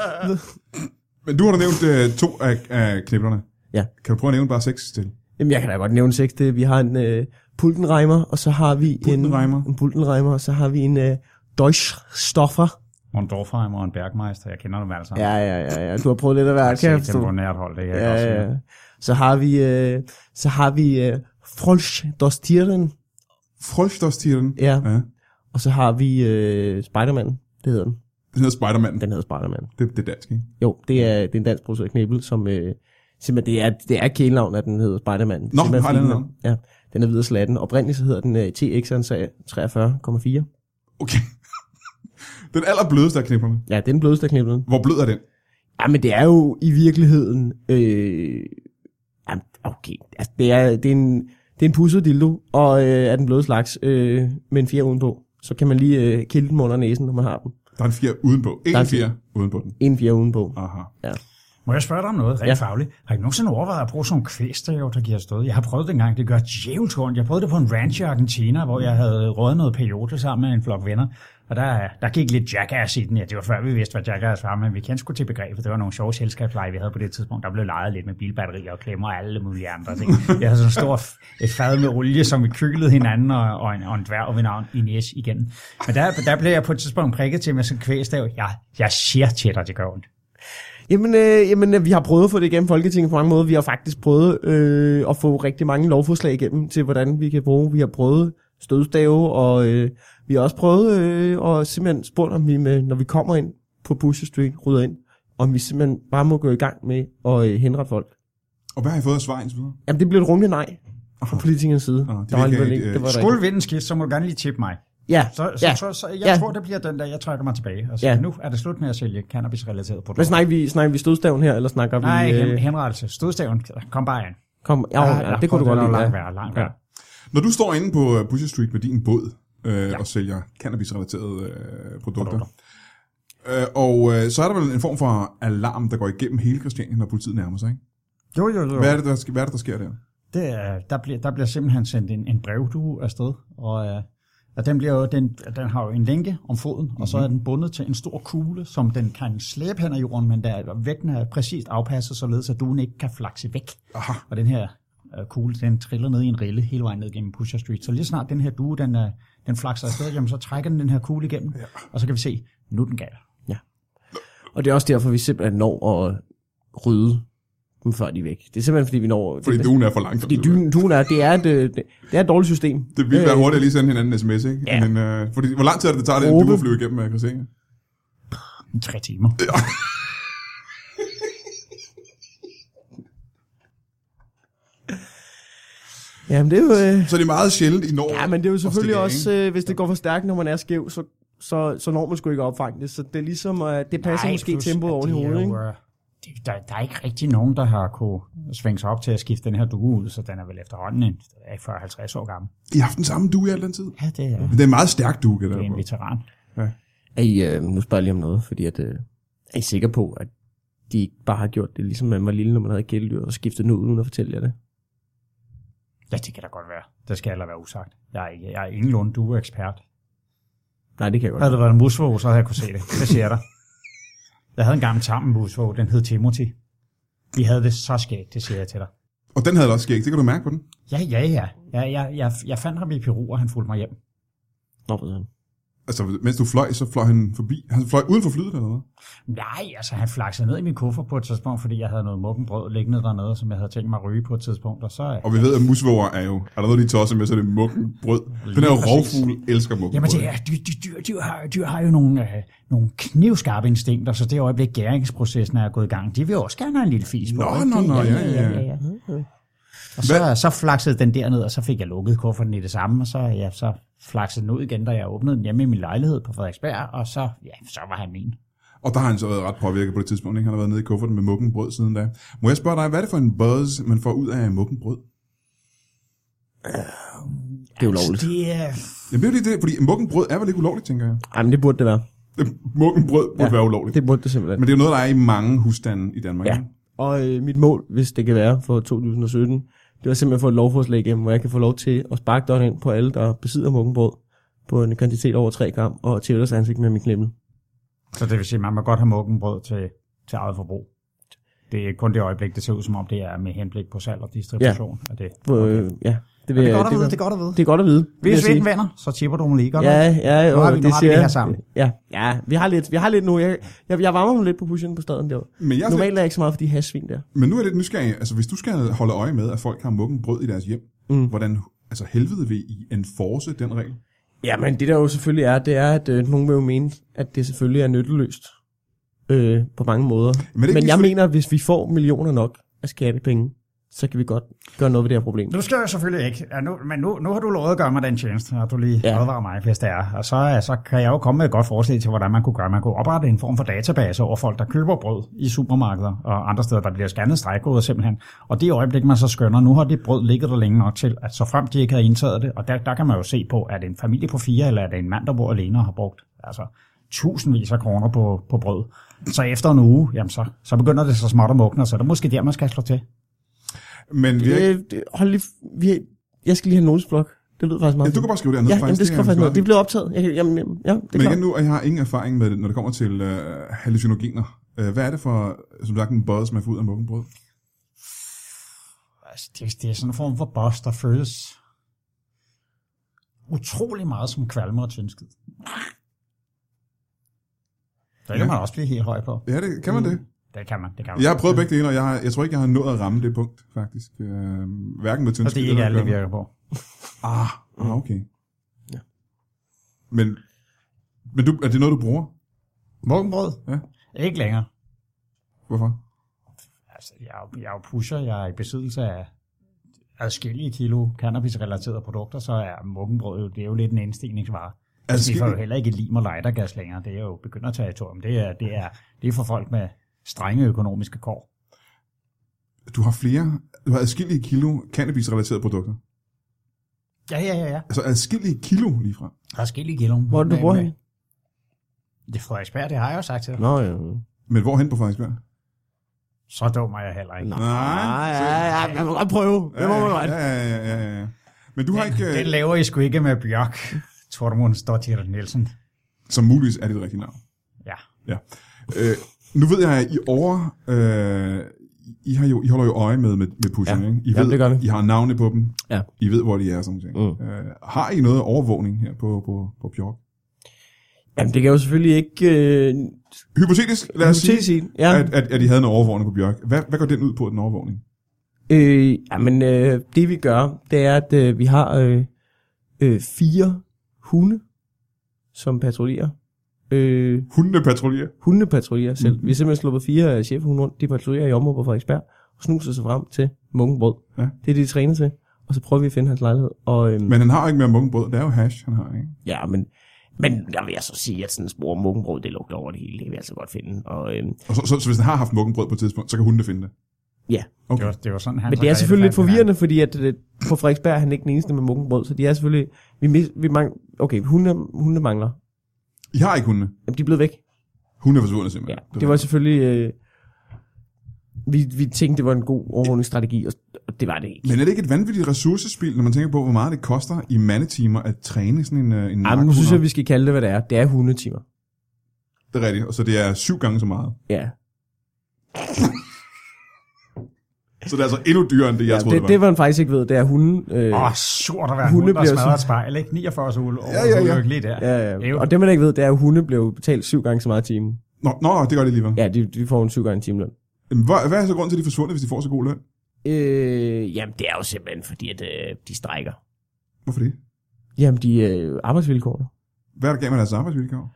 men du har da nævnt øh, to af, af kniblerne. Ja. Kan du prøve at nævne bare seks til? Jamen, jeg kan da godt nævne seks. Det, vi har en øh, pultenreimer, og så har vi Pultenreimer? en... En pultenreimer. og så har vi en øh, Deutschstoffer. Og en Dorfheimer og en Bergmeister, jeg kender dem alle sammen. Ja, ja, ja, ja. Du har prøvet lidt af hvert, kan jeg det forstå. er nært hold, det kan jeg Ja, godt sige. ja, ja. Så har vi, øh, så har vi øh, Frolsch dos Tieren, Frølstostieren. ja. ja. og så har vi øh, Spiderman, det hedder den. Den hedder Spider-Man. Den hedder Spiderman. Det, det er dansk, ikke? Jo, det er, det er en dansk produceret knæbel, som øh, simpelthen, det er, det er kælenavn, at den hedder Spiderman. Det er Nå, simpelthen har fordi den er- navn? Ja, den er videre slatten. Oprindeligt så hedder den øh, TX'eren 43,4. Okay. den allerblødeste af kniblerne. Ja, det er den blødeste af knæblen. Hvor blød er den? Ja, men det er jo i virkeligheden... Øh, jamen, okay. Altså, det er, det er en, det er en pusset dildo, og øh, er den bløde slags, øh, med en fjer udenpå. Så kan man lige øh, kilde dem under næsen, når man har dem. Der er en fjer udenpå. En Der er en fjer udenpå den. En fjer udenpå. Aha. Må jeg spørge dig om noget rent Ja. ja. fagligt? Har I nogensinde overvejet at bruge sådan nogle kvæstæver, der giver stød? Jeg har prøvet det engang, det gør djævelt ondt. Jeg prøvede det på en ranch i Argentina, hvor jeg havde røget noget peyote sammen med en flok venner. Og der, der gik lidt jackass i den. Ja, det var før vi vidste, hvad jackass var, men vi kendte sgu til begrebet. Det var nogle sjove selskabsleje, vi havde på det tidspunkt. Der blev leget lidt med bilbatterier og klemmer og alle mulige andre ting. Jeg havde sådan en stor f- et fad med olie, som vi kylede hinanden og, og, en, og en dværg ved navn Ines igen. Men der, der blev jeg på et tidspunkt prikket til med sådan en kvæstav. Jeg, jeg siger til dig, det gør ondt. Jamen, øh, jamen, øh, vi har prøvet at få det igennem Folketinget på mange måder. Vi har faktisk prøvet øh, at få rigtig mange lovforslag igennem til, hvordan vi kan bruge. Vi har prøvet stødstave, og øh, vi har også prøvet øh, at simpelthen spurgt, om vi, med, når vi kommer ind på Pusher Street, rydder ind, om vi simpelthen bare må gå i gang med at øh, henrette folk. Og hvad har I fået af svar indtil videre? Jamen, det blev et rungende nej fra politikernes side. Ah, det der virker var alligevel ikke, ikke, det var øh, der ikke. Skulle vinden skifte, så må du gerne lige tippe mig. Ja, Så, så, ja. ja. så, så jeg Ja. ja. tror, det bliver den der, jeg trækker mig tilbage. Altså, Ja. ja. Nu er det slut med at sælge cannabis-relaterede produkter. Hvad snakker vi, snakker vi stødstaven her, eller snakker Nej, vi... øh, hen, henrettelse. Stødstaven. Kom bare an. kom, ja, ja, det kunne du godt lide. Langt Ja. værre, langt værre. Når du står inde på øh, Pusher Street med din båd øh, ja. og sælger cannabis-relaterede øh, produkter, øh, og øh, så er der vel en form for alarm, der går igennem hele Christiania, når politiet nærmer sig, ikke? Jo, jo, jo. Hvad er det, der, sk- hvad er det, der sker der? Det, er- der, bliver, der bliver simpelthen sendt en, en brevdue afsted, og øh, Og den, bliver jo, den, den har jo en lænke om foden, mm-hmm. og Mhm. så er den bundet til en stor kugle, som den kan slæbe hen ad jorden, men der vægten er præcist afpasset, således at duen ikke kan flakse væk. Aha. Og den her øh, kugle, den triller ned i en rille hele vejen ned gennem Pusher Street. Så lige snart den her due, den, øh, den flakser afsted, jamen, så trækker den den her kugle igennem, ja. og så kan vi se, nu er den gal. Og det er også derfor, vi simpelthen når at rydde dem, før de er væk. Det er simpelthen, fordi vi når... Fordi det, duen er for langt. fordi duen, duen er, det er, et, øh, det, det er et dårligt system. Det ville være hurtigt at lige sende hinanden en sms, ikke? Ja. Men, øh, fordi, hvor lang tid er det, det tager det, Råbe. du at flyve igennem af Christiania? Tre timer. Jamen, det er jo... Øh, Så det er meget sjældent i Norge. ja, men det er jo selvfølgelig stikke af, også, øh, hvis det går for stærkt, når man er skæv, så, så, så når man sgu ikke at opfange det. Så det er ligesom, øh, det passer Nej, måske plus, tempoet at oven i det er hovedet, jo, ikke? øh, det- Der, der er ikke rigtig nogen, der har kunne svinge sig op til at skifte den her due ud, så den er vel efterhånden en det ved jeg ikke, 40-50 år gammel. I har haft den samme due i al den tid. Ja, det er, Men det er en meget stærk due, kan jeg det er en på. veteran. Er I, øh, nu spørger jeg lige om noget, fordi at, øh, er I sikre på, at de ikke bare har gjort det, ligesom man var lille, når man havde kæledyr, og skiftet den ud, uden at fortælle jer det? Ja, det kan da godt være. Det skal heller være usagt. Jeg er, ikke, jeg er ingenlunde dueekspert. Nej, det kan jeg godt. Havde det været en musvog, så havde jeg kunne se det. Det siger jeg dig. Jeg havde engang en tam musvog, den hed Timothy. Vi havde det så skægt, det siger jeg til dig. Og den havde da også skæg, det kan du mærke på den. Ja, ja, ja. Jeg, jeg, jeg, jeg fandt ham i Peru, og han fulgte mig hjem. Nå, ved han. Altså, mens du fløj, så fløj han forbi. Han fløj uden for flyet eller hvad? Nej, altså han flaksede ned i min kuffert på et tidspunkt, fordi jeg havde noget muggenbrød liggende dernede, som jeg havde tænkt mig at ryge på et tidspunkt, og så... øh, Og vi ved, at musvåger er jo... Er der noget, de tosser med, så er det mukken brød. Den her præcis. rovfugl elsker mukken Jamen det er, dyr, dyr, dyr, dyr, har, dyr har jo nogle, øh, nogle knivskarpe instinkter, så det øjeblik gæringsprocessen er gået i gang, de vil også gerne have en lille fis på. Nå, ikke? nå, nå, ja, ja, ja. Og så, så flaksede den derned, og så fik jeg lukket kufferten i det samme, og så, ja, så flaksede den ud igen, da jeg åbnede den hjemme i min lejlighed på Frederiksberg, og så, ja, så var han min. Og der har han så været ret påvirket på det tidspunkt, ikke? Han har været nede i kufferten med mukken brød siden da. Må jeg spørge dig, hvad er det for en buzz, man får ud af mukken brød? Det er ulovligt. Så det øh, er... Jamen det er jo lige det, fordi mukken brød er vel ikke ulovligt, tænker jeg. Ej, men det burde det være. Mukken brød burde ja, være ulovligt. Det burde det simpelthen. Men det er jo noget, der er i mange husstande i Danmark. Ja. ikke? Og øh, mit mål, hvis det kan være, for 2017, det var simpelthen at få et lovforslag igennem, hvor jeg kan få lov til at sparke døren ind på alle, der besidder muggenbrød på en kvantitet over 3 gram, og til deres ansigt med min klemme. Så det vil sige, at man må godt have muggenbrød til, til eget forbrug. Det er kun det øjeblik, det ser ud som om, det er med henblik på salg og distribution. Ja. Og det, Okay. Øh, ja, det, vil, det er godt jeg- at vide, vil- det er godt at vide. det er godt at vide. vil jeg Hvis vi sige. ikke vinder, så tipper du mig lige godt. Ja, nok. ja, jo, Nu har vi- nu det har vi siger det her jeg. sammen. Ja, ja, vi har lidt, vi har lidt nu. Jeg, jeg, jeg varmer mig lidt på pushen på staden der. Men jeg er Normalt er jeg ikke så meget for de hassvin der. Men nu er jeg lidt nysgerrig. Altså, hvis du skal holde øje med, at folk har mukken brød i deres hjem, mm. hvordan altså, helvede vil I enforce den regel? Ja, men det der jo selvfølgelig er, det er, at øh, nogen vil jo mene, at det selvfølgelig er nytteløst øh, på mange måder. Men det er Men, ikke men jeg ligesom- mener, at hvis vi får millioner nok af skattepenge, så kan vi godt gøre noget ved det her problem. Nu skal jeg selvfølgelig ikke, ja, nu, men nu, nu har du lovet at gøre mig den tjeneste, og du lige Ja. ja. advarer mig, hvis det er. Og så, øh, så kan jeg jo komme med et godt forslag til, hvordan man kunne gøre. Man kunne oprette en form for database over folk, der køber brød i supermarkeder og andre steder, der bliver scannet stregkoder simpelthen. Og det øjeblik, man så skønner, nu har det brød ligget der længe nok til, at så frem de ikke havde indtaget det, og der, der kan man jo se på, er det en familie på fire, eller er det en mand, der bor alene og har brugt altså, tusindvis af kroner på, på brød. Så efter en uge, jamen så, så begynder det så småt at mugne, og så er det måske der, man skal slå til. Men vi er ikke... Øh, det- hold lige, f- vi, jeg skal lige have en notesblok. Det lyder faktisk meget Ja, du kan fint. bare skrive det hernede, Ja, jamen, det er skal jeg faktisk sgu noget. Det meget bliver optaget. Jeg, kan- jamen, jamen, ja, det er fint. Men klart. igen nu, og jeg har ingen erfaring med det, når det kommer til øh, hallucinogener. Øh, Hvad er det for, som sagt, en buzz, man får ud af mukken brød? Altså, det, det er sådan en form for boss, der føles utrolig meget som kvalme og tyndskid. Det kan Ja. ja. man også blive helt høj på. Ja, det kan Mm. man det. Det kan man, det kan man. Jeg har prøvet begge dele, og jeg, har, jeg tror ikke, jeg har nået at ramme det punkt, faktisk. Øh, hverken med Og tyndskid det er ikke alle, eller det virker på. Ah, Mm. ah, okay. Men, men du, er det noget, du bruger? Morgenbrød? Ja. Ikke længere. Hvorfor? Altså, jeg, er jo- jeg er jo pusher, jeg er i besiddelse af adskillige kilo cannabis-relaterede produkter, så er muggenbrød jo, det er jo lidt en indstigningsvare. Altså, vi får jo Adskillige- heller ikke lim og lightergas længere, det er jo begynderterritorium. Det er, det, er, det er for folk med strenge økonomiske kår. Du har flere, du har adskillige kilo cannabis-relaterede produkter. Ja, ja, ja, ja. Altså adskillige kilo ligefrem. Der er skille gælder. Hvor er det, du bruger hende? øh, Det er Frederiksberg, det har jeg jo sagt til dig. Nå, ja. Men hvorhen på Frederiksberg? Så dum er jeg heller ikke. Nå, Nej, ja, ja, man må godt prøve. Det må man godt. ja, ja, ja, ja, ja. Men du har ikke... øh, Den laver I sgu ikke med Bjørk, Tormundsdottir Nielsen. Som muligvis er det det rigtige navn. Ja. Ja. Øh, nu ved jeg, at I over... Øh, I, har jo, I holder jo øje med, med, med pusherne, Ja. ikke? I Ja, ved, det gør vi. I har navne på dem. Ja. I ved, hvor de er og sådan noget. Mm. Øh, har I noget overvågning her på, på, på Bjork? Jamen, det kan jo selvfølgelig ikke... Øh, Hypotetisk, lad os sige, sige. Ja. at, at, at I havde en overvågning på Bjørk. Hvad, hvad går den ud på, den overvågning? Øh, jamen, øh, det vi gør, det er, at øh, vi har øh, øh, fire hunde, som patruljerer. Øh, Hundene patruljerer. hundene patruljerer Mm-hmm. selv. Mm. Vi har simpelthen sluppet fire øh, chefhunde rundt. De patruljerer i området på Frederiksberg og snuser sig frem til Munkenbrød. Ja. Det er det, de træner til. Og så prøver vi at finde hans lejlighed. Og, øhm, Men han har ikke mere munkebrød. Det er jo hash, han har, ikke? ja, men, men der vil jeg så sige, at sådan en spor Munkenbrød, det lugter over det hele. Det kan vi altså godt finde. Og, øhm, Og så, så, så hvis han har haft munkebrød på et tidspunkt, så kan hundene finde det. ja, Det var, det var sådan, han Men det er selvfølgelig lidt forvirrende, fordi at, øh, på Frederiksberg er han ikke den eneste med munkenbrød, så de er selvfølgelig... Vi, mis, vi mang, okay, hunde, hunde mangler. I har ikke hundene. Jamen, de er blevet væk. Hunde er forsvundet simpelthen. Ja, det var selvfølgelig... Øh, vi, vi tænkte, det var en god overvågningsstrategi, og, og det var det ikke. Men er det ikke et vanvittigt ressourcespil, når man tænker på, hvor meget det koster i mandetimer at træne sådan en, øh, en Ej, men nu synes jeg, vi skal kalde det, hvad det er. Det er hundetimer. Det er rigtigt, og så det er syv gange så meget. Ja, Så det er altså endnu dyrere, end det jeg ja ja, troede, det, det, det var han faktisk ikke ved. Det er hunde... Øh, Åh, surt at være Hunde hunde der bliver smadrer et sådan- spejl, ikke? 49 sol over Ja, ja, ja. lige der. ja, Det er jo- ja. Og det, man ikke ved, det er, at hunde bliver jo betalt syv gange så meget i timen. Nå, nå, det gør det alligevel. Ja. Ja, de, de får en syv gange timeløn. Hvad, hvad er så grunden til, at de er forsvundet, hvis de får så god løn? Øh, jamen, det er jo simpelthen fordi, at øh, de strækker. Hvorfor det? Jamen, de øh, arbejdsvilkårene. Hvad er der galt med deres arbejdsvilkår?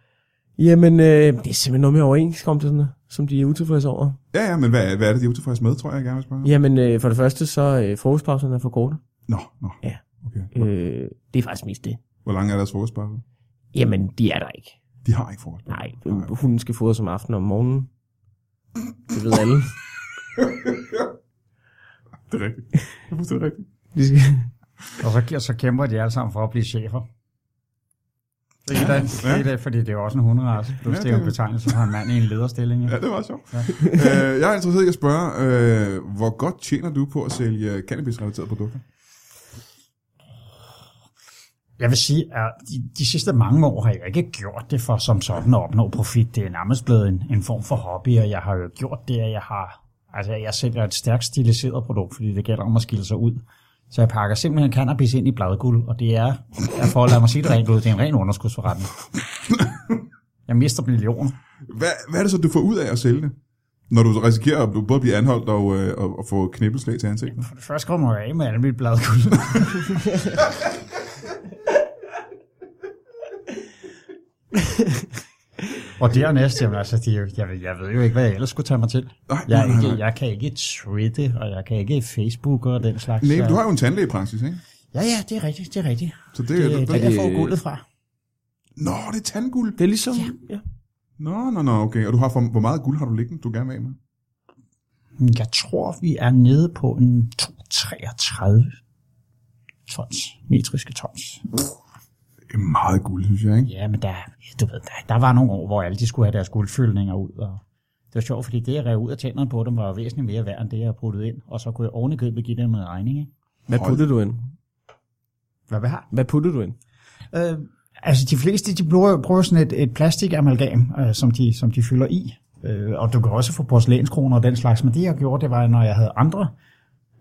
Jamen, øh, det er simpelthen noget med overenskomsterne, som de er utilfredse over. Ja, ja, men hvad, er- hvad er det, de er utilfredse med, tror jeg, jeg gerne vil spørge? Ja. Jamen, øh, for det første, så øh, frokostpauserne er for korte. Nå, nå. Ja. Okay. Øh, det er faktisk mest det. Hvor lange er deres frokostpause? Jamen, de er der ikke. De har ikke frokostpause. Nej, øh, hunden skal fodres om aftenen og om morgenen. Det ved alle. Det er rigtigt. Det er fuldstændig rigtigt. De skal... Og så, så kæmper de alle sammen for at blive chefer. Det er, ja, det, er det, fordi det er jo også en hunderace. Ja, det er jo en det- betegnelse for en mand i en lederstilling. Ja, Ja. det var sjovt. Ja. øh, jeg er interesseret i at spørge, øh, hvor godt tjener du på at sælge cannabis-relaterede produkter? Jeg vil sige, at de, de sidste mange år har jeg ikke gjort det for som sådan at opnå profit. Det er nærmest blevet en, en form for hobby, og jeg har jo gjort det, at jeg har... Altså, jeg sælger et stærkt stiliseret produkt, fordi det gælder om at skille sig ud. Så jeg pakker simpelthen cannabis ind i bladguld, og det er, jeg får lade mig sige det rent ud, det er en ren underskudsforretning. Jeg mister millioner. Hvad, hvad er det så, du får ud af at sælge det? Når du risikerer at både blive anholdt og, øh, og, og få knibbelslag til ansigtet? For det første kommer jeg af med alle mit bladguld. og dernæst, jamen, altså, det, er jo- jeg, ved, jeg ved jo ikke, hvad jeg ellers skulle tage mig til. Nej, Jeg, nej, er nej, ikke, nej. jeg kan ikke twitte, og jeg kan ikke Facebook og den slags. Nej, så- du har jo en tandlægepraksis, ikke? Ja, ja, det er rigtigt, det er rigtigt. Så det, Det, det, det, det, jeg det, får guldet fra. Nå, det er tandguld. Det er ligesom... Ja. ja. Nå, nå, nå, okay. Og du har for, hvor meget guld har du liggende, du gerne vil af med? Jeg tror, vi er nede på en 233 tons, metriske tons. Det er meget guld, synes jeg, ikke? Ja, men der, du ved, der, der var nogle år, hvor alle de skulle have deres guldfyldninger ud, og det var sjovt, fordi det, jeg rev ud af tænderne på dem, var jo væsentligt mere værd, end det, jeg puttede ind, og så kunne jeg ovenikøbet give dem en regning, ikke? Hvad Hold. puttede du ind? Hvad vi har? Hvad puttede du ind? Øh, altså, de fleste, de bruger, bruger sådan et, et plastikamalgam, øh, som, de, som de fylder i, øh, og du kan også få porcelænskroner og den slags, men det, jeg gjorde, det var, når jeg havde andre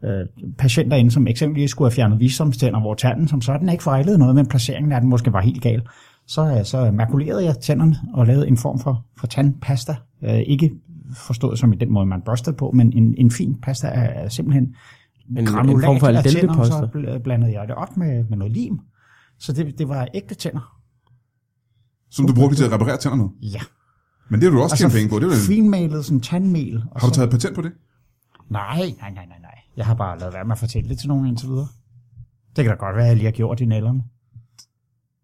øh, patienter inde, som eksempelvis skulle have fjernet visdomstænder, hvor tanden som sådan ikke fejlede noget, men placeringen af den måske var helt gal. Så, øh, så makulerede jeg tænderne og lavede en form for, for tandpasta. Øh, ikke forstået som i den måde, man børstede på, men en, en fin pasta er er simpelthen en granulat form for af tænder, og så aldenteposter. bl- blandede jeg det op med, med noget lim. Så det, det var ægte tænder. Som du brugte til at reparere tænder med. Ja. Altså, Men det har du også tjent penge på. Det er vel- finmalet sådan tandmel. Og har du så- taget patent på det? Nej, nej, nej, nej, nej. Jeg har bare lavet være med at fortælle det til nogen indtil videre. Det kan da godt være, at jeg lige har gjort i nælderne.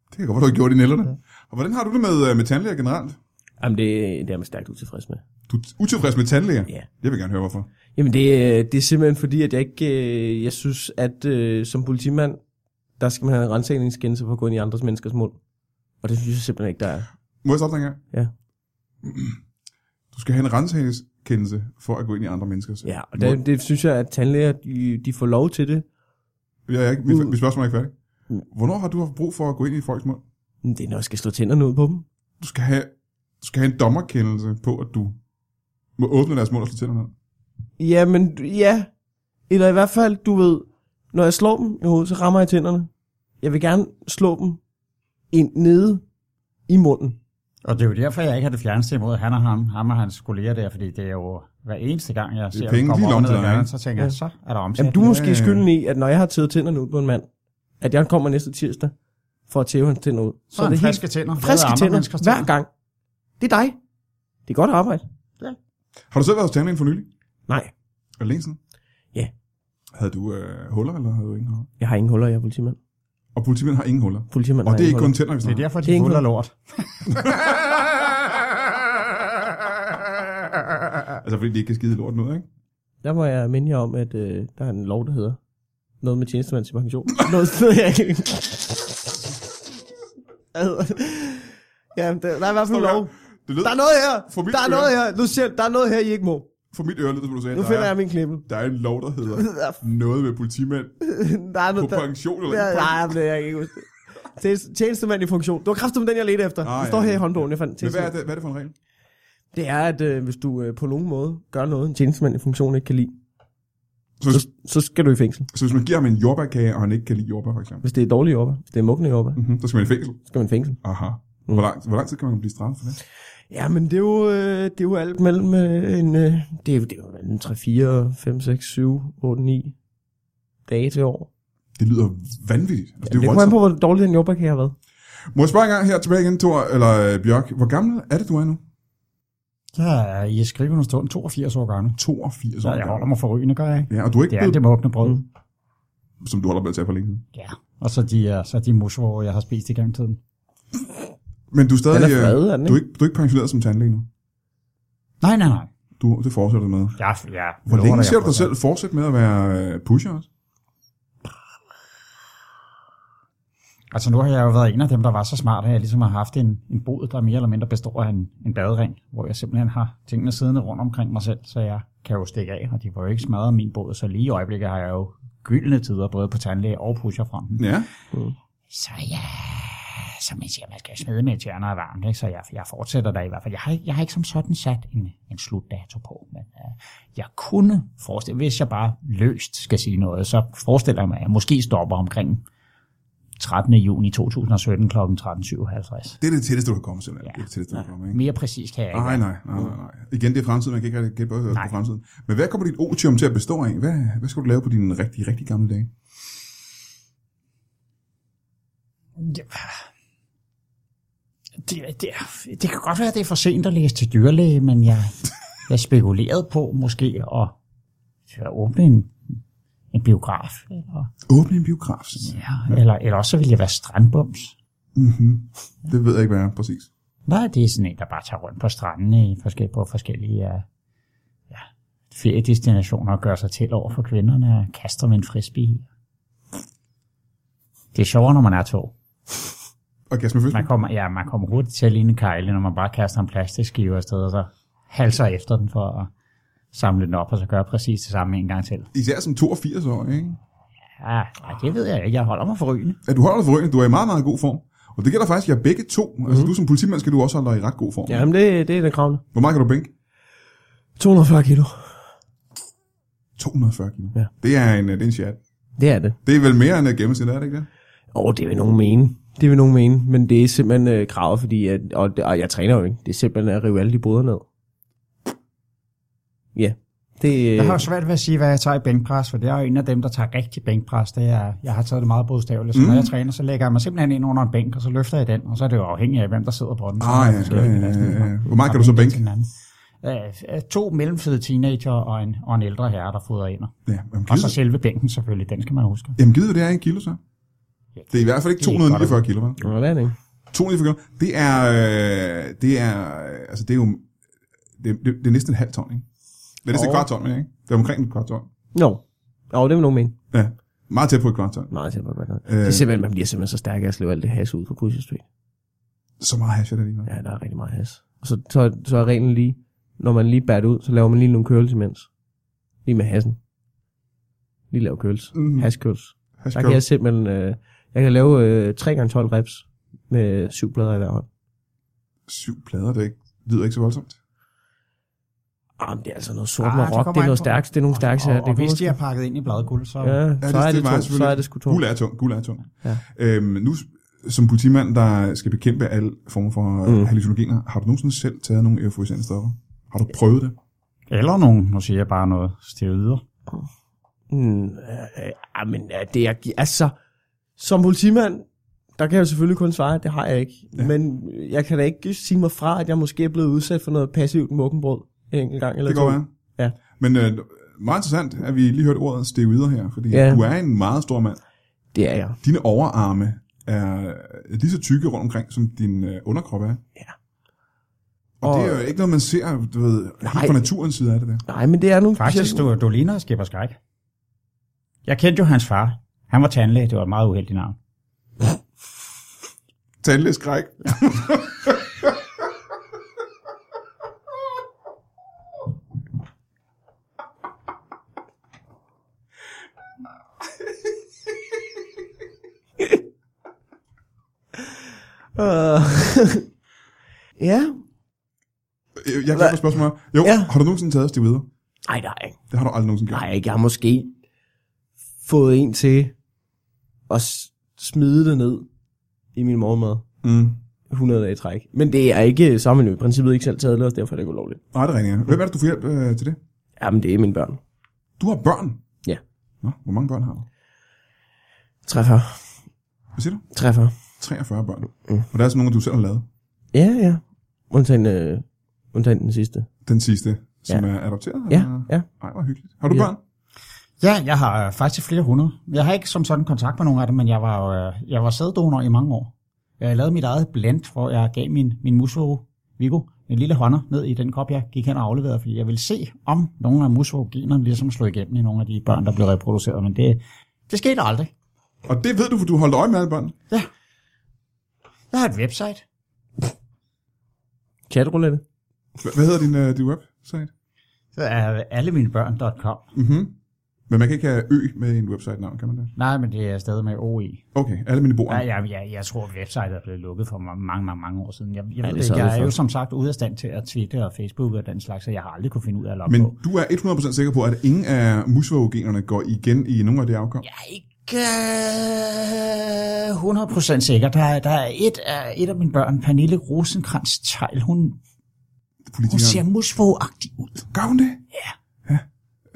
Det kan godt være, du har gjort i nælderne. Og hvordan har du det med, øh, med tandlæger generelt? Jamen, det, det er man stærkt utilfreds med. Du er utilfreds med tandlæger? Ja. Jeg vil gerne høre, hvorfor. Jamen det, øh, det er simpelthen fordi, at jeg ikke, øh, jeg synes, at øh, som politimand, der skal man have en rensagningskendelse for at gå ind i andres menneskers mund. Og det synes jeg simpelthen ikke, der er. Må jeg stoppe dig en gang? Ja. Du skal have en rensagningskendelse for at gå ind i andre menneskers. Ja, og det, det synes jeg, at tandlæger, de, de får lov til det. Uh. Jeg er ikke, mit, mit spørgsmål er ikke færdigt. Hvornår har du haft brug for at gå ind i folks mund? Men Det er, når jeg skal slå tænderne ud på dem. Du skal have, du skal have en dommerkendelse på, at du må åbne deres mund og slå tænderne ned. Ja, men ja. Eller i hvert fald, du ved, når jeg slår dem i hovedet, så rammer jeg tænderne. Jeg vil gerne slå dem ind nede i munden. Og det er jo derfor, jeg ikke har det fjerneste imod han og ham, ham og hans kolleger der, fordi det er jo hver eneste gang, jeg ser, at penge de lige kommer op og langt ned ad langt, gaden, ikke? så tænker jeg, så er der omsæt. Jamen, du er måske skylden i, at når jeg har taget tænderne ud på en mand, at jeg kommer næste tirsdag for at tæve hans tænder ud. så er det det er friske tænder. friske Bedre andre tænder menneskers hver gang. Det er dig. Det er godt arbejde. Har du selv været hos tandlægen for nylig? Nej, Er det længe siden? Ja. Havde du øh, huller, eller havde du ingen huller? jeg har ingen huller, jeg er politimand. Og politimænd har ingen huller. Politimand Og har det er ingen ikke kun huller. tænder, vi Det snakker. er derfor, Det er de ikke huller noget- lort. altså, fordi de ikke kan skide lort noget, ikke? Der må jeg minde jer om, at øh, der er en lov, der hedder noget med tjenestemands pension. noget sted, jeg ikke... Hvad hedder det? Jamen, der, der er i hvert fald en lov. Det lyder, Der er noget her. For mit Der er øre. noget her. Luciel, der er noget her, I ikke må. For mit øre lyder det, som du sagde. Nu der finder er- jeg min klippe. Der er en lov, der hedder noget med politimænd Der er på noget, der, pension eller der, ikke på nej, men det er jeg kan ikke huske. Tjeneste- Tjenestemand i funktion. Det var kraftigt med den, jeg ledte efter. Ah, Det ja, står her ja. i håndbogen, jeg fandt Men hvad er, tjenestemand. det, hvad er det for en regel? Det er, at øh, hvis du øh, på nogen måde gør noget, en tjenestemand i funktion ikke kan lide, Så, så, så skal du i fængsel. så hvis man giver ham en jordbærkage, og han ikke kan lide jordbær, for eksempel, Hvis det er dårlige jobber, hvis det er mugne jobber, mm-hmm. så skal man i fængsel. så skal man i fængsel. Aha. Hvor lang, hvor lang tid kan man blive straffet for det? Ja, men det er jo, øh, det er jo alt mellem øh, en, øh, det er, jo- det er jo en 3, 4, 5, 6, 7, 8, 9 dage til år. Det lyder vanvittigt. Altså, Det det er kommer voldsomt. an på, hvor dårlig den jobber kan have været. Må jeg spørge en gang her tilbage igen, Thor, eller øh, Bjørk. Hvor gammel er det, du er nu? Jeg er i skrivende stund 82 år gammel. 82 Så år jeg holder gammel. mig for rygende, gør jeg ikke? Ja, og du er ikke Det er blevet, det mugne brød. som du holder med at tage for længe siden. Ja. Og så de, er- så de musvårer, jeg har spist igennem tiden. Men du er stadig... Den er øh, fredet, er den du, er ikke, du er ikke pensioneret som tandlæge nu. Nej, nej, nej. Du, det fortsætter du med. Ja, ja. Hvor længe ser du dig fortsat. selv fortsætte med at være øh, pusher også? Altså nu har jeg jo været en af dem, der var så smart, at jeg ligesom har haft en, en bod, der mere eller mindre består af en, en badering, hvor jeg simpelthen har tingene siddende rundt omkring mig selv, så jeg kan jo stikke af, og de får jo ikke smadret min båd, så lige i øjeblikket har jeg jo gyldne tider, både på tandlæge og pusherfronten. Ja. Så ja, som man siger, man skal jo smide med tjerner og varmt, ikke? så jeg, jeg fortsætter der i hvert fald. Jeg har, ikke- jeg har ikke som sådan sat en, en slutdato på, men øh, jeg kunne forestille hvis jeg bare løst skal sige noget, så forestiller jeg mig, at jeg måske stopper omkring 13. juni 2017 kl. 13.57. Det er det tætteste, du kan komme, simpelthen. Ja. Det er det tætteste, du kan komme, ikke? Mere præcis kan jeg ikke. Nej, nej, nej, nej, nej. Igen, det er fremtiden, man kan ikke rigtig gætte på, på fremtiden. Men hvad kommer dit otium til at bestå af? Hvad, hvad skal du lave på dine rigtig, rigtig gamle dage? Ja. Det, det, det kan godt være, at det er for sent at læse til dyrlæge, men jeg, jeg spekulerede på måske at, at åbne en, en biograf. Eller, Åbne en biograf, simpelthen. ja, eller, eller også så ville jeg være strandbums. Mm-hmm. Det ved jeg ikke, hvad er præcis. Nej, det er sådan en, der bare tager rundt på stranden i forskellige, på forskellige ja, ja, feriedestinationer og gør sig til over for kvinderne og kaster med en frisbee. Det er sjovere, når man er to. Og Kasper Føsby? Man kommer, ja, man kommer hurtigt til at ligne Kejle, når man bare kaster en plastikskive afsted, og så halser efter den for at samle den op, og så gøre præcis det samme en gang til. Især som 82 år, ikke? Ja, nej, det ved jeg ikke. Jeg holder mig for rygende. At du holder dig for ryggen, du er i meget, meget god form. Og det gælder faktisk jer begge to. Mm-hmm. Altså, du som politimand skal du også holde dig i ret god form. Jamen, det, det er den kravende. Hvor meget kan du bænke? 240 kilo. 240 kilo. Ja. Det er en, øh, det er en chat. Det er det. Det er vel mere end øh, gennemsnittet, er det ikke det? Åh, det vil nogen mene. Det vil nogen mene, men det er simpelthen øh, kravet, fordi at, og, det- og jeg træner jo ikke. Det er simpelthen at rive alle de boder ned. Ja, det... øh, Øh. Jeg har jo svært ved at sige, hvad jeg tager i bænkpres, for det er jo en af dem, der tager rigtig bænkpres. Det er, jeg har taget det meget bogstaveligt. Så Mm. når jeg træner, så lægger jeg mig simpelthen ind under en bænk, og så løfter jeg den, og så er det jo afhængigt af, hvem der sidder på den. Så Ah, er der ja, forskellige ja, ja, ja, belastninger ja. fra- Hvor meget fra kan du så den ene bænke? til den anden. Øh, to mellemfede teenager og en, og en ældre herre, der fodrer ind. Ja, jamen, Og givet, så selve bænken selvfølgelig, den skal man huske. jamen, givet hvad det er i kilo, så? Det er i hvert fald ikke Det er ikke godt. 249 kilo, vel? Nå, det er det ikke. 200 kilo. Det er, øh, det er, øh, altså det er jo, det, det, det er næsten en halv ton, ikke? Det er næsten et Åh. kvart ton, men ikke? Det er omkring et kvart ton. Nå, Nå det vil nogen mene. Ja, meget tæt på et kvart ton. Meget tæt på at gøre Øh. Det er simpelthen, man bliver simpelthen så stærk af at slå alt det has ud på Pusher Street. Så meget hash er det alligevel. Ja, der er rigtig meget has. Og så, så, så er reglen lige, når man lige bærer det ud, så laver man lige nogle curls imens. Lige med hassen. Lige lave curls. Mhm. Mm. Hash curls. Hash Der curl. kan jeg simpelthen, øh, jeg kan lave øh, 3 gange 12 reps med syv plader i hver hånd. Syv plader, det er ikke, lyder ikke så voldsomt. Ah, men det er altså noget sort Ah, ah, det med rock, det, kommer er an noget på- stærkt, det er nogle stærke sager. og, og, og kunne hvis man- de er pakket ind i bladguld, så... Ja, Ja, så, er det var jeg tungt, så er selvfølgelig. det sgu Guld tungt. er tungt. Guld er tungt. Ja. Øhm, nu som politimand, der skal bekæmpe alle former for mm. Mm. hallucinogener, har du nogensinde selv taget nogle euforiserende stoffer? Har du prøvet det? Eller nogen, nu siger jeg bare noget steroider. Mm, øh, øh, men øh, det er, altså, som politimand, der kan jeg jo selvfølgelig kun svare, at det har jeg ikke. Ja. Men jeg kan da ikke sige mig fra, at jeg måske er blevet udsat for noget passivt mukkenbrød en enkelt gang eller Det to. går være. Ja. Men øh, meget interessant, at vi lige hørte ordet steroider her, fordi ja. Ja. du er en meget stor mand. Det er jeg. Dine overarme er lige så tykke rundt omkring, som din øh, underkrop er. Ja. Og, og Og- det er jo ikke noget, man ser du ved, helt Nej. fra naturens side af det der. Nej, men det er nogle Faktisk, du, du ligner Skipper Skræk. Jeg kendte jo hans far. Han var tandlæge, det var et meget uheldigt navn. Tandlæs skræk. Øh, ja. Øh, Jeg kan få spørgsmål. Jo, ja. Ja. har du nogensinde taget steroider? Nej, det har jeg ikke. Det har du aldrig nogensinde gjort. Nej, ikke. Jeg har måske fået en til at s- smide det ned i min morgenmad Mm. 100 dage i træk. Men det er ikke, så har man jo i princippet ikke selv taget det, og derfor er det ikke ulovligt. Nej, det er rigtigt. ja. Hvem er det, du får hjælp øh, til det? Jamen, det er mine børn. Du har børn? Ja. Nå, hvor mange børn har du? Træffer. Hvad siger du? Træffer. 43 børn. Mm. Og der er sådan nogle, du selv har lavet. Ja, ja. Undtagen, øh, undtagen den sidste. Den sidste, som ja. Ja. er adopteret? Ja, eller? ja. Ej, hvor hyggeligt. Har du ja. Ja. børn? Ja, jeg har øh, faktisk flere hundrede. Jeg har ikke som sådan kontakt med nogen af dem, men jeg var, jo, øh, jeg var sæddonor i mange år. Jeg lavede mit eget blend, hvor jeg gav min, min musvåge, Viggo, en lille hånder ned i den kop, jeg gik hen og afleverede, fordi jeg ville se, om nogle af musvågenerne ligesom slog igennem i nogle af de børn, der blev reproduceret, men det, det skete aldrig. Og det ved du, for du holdt øje med alle børn. Jeg har et website. Chatroulette. Hva- Hvad hedder din, øh, din website? Det er alleminebørn.com. Mm-hmm. Men man kan ikke have ø med en website-navn, kan man det? Nej, men det er stadig med E. OE. Okay, alle mine bord. Ja, jeg, jeg, jeg tror, at websitet er blevet lukket for ma- mange, mange, mange år siden. Jeg, jeg, det ved er det så ikke, jeg det er jo først. som sagt ude af stand til at twitte og Facebook og den slags, så jeg har aldrig kunne finde ud af at logge Men på. du er 100% sikker på, at ingen af musvågenerne går igen i nogle af de afkom? Ja. Jeg er ikke øh, 100% sikker. Der, er- der er et af, et af mine børn, Pernille rosenkrantz Tejl, hun, hun ser Politikeren. musvågagtig ud. Gør hun det? Ja.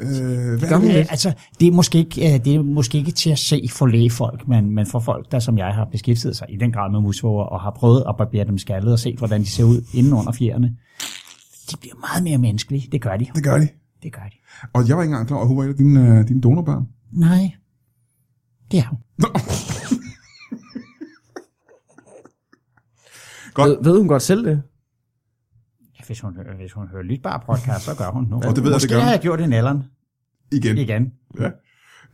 Øh, hvad er Gør det? hun Øh, det? altså, det er, måske ikke, øh, det er måske ikke til at se for lægefolk, men, men for folk, der som jeg har beskæftiget sig i den grad med musvåger, og har prøvet at barbere dem skaldet og set, hvordan de ser ud inden under fjerne, de bliver meget mere menneskelige. Det gør de. Det gør de. Det gør de. Og jeg var ikke engang klar over, at hun var et af dine, øh, dine donorbørn. Nej. Det er hun. Godt. Ved, ved hun godt selv det? Hvis hun, øh, hvis hun hører lytbar podcast, så gør hun nu. Og det ved jeg, Måske det gør hun. har jeg gjort en alderen Igen. igen.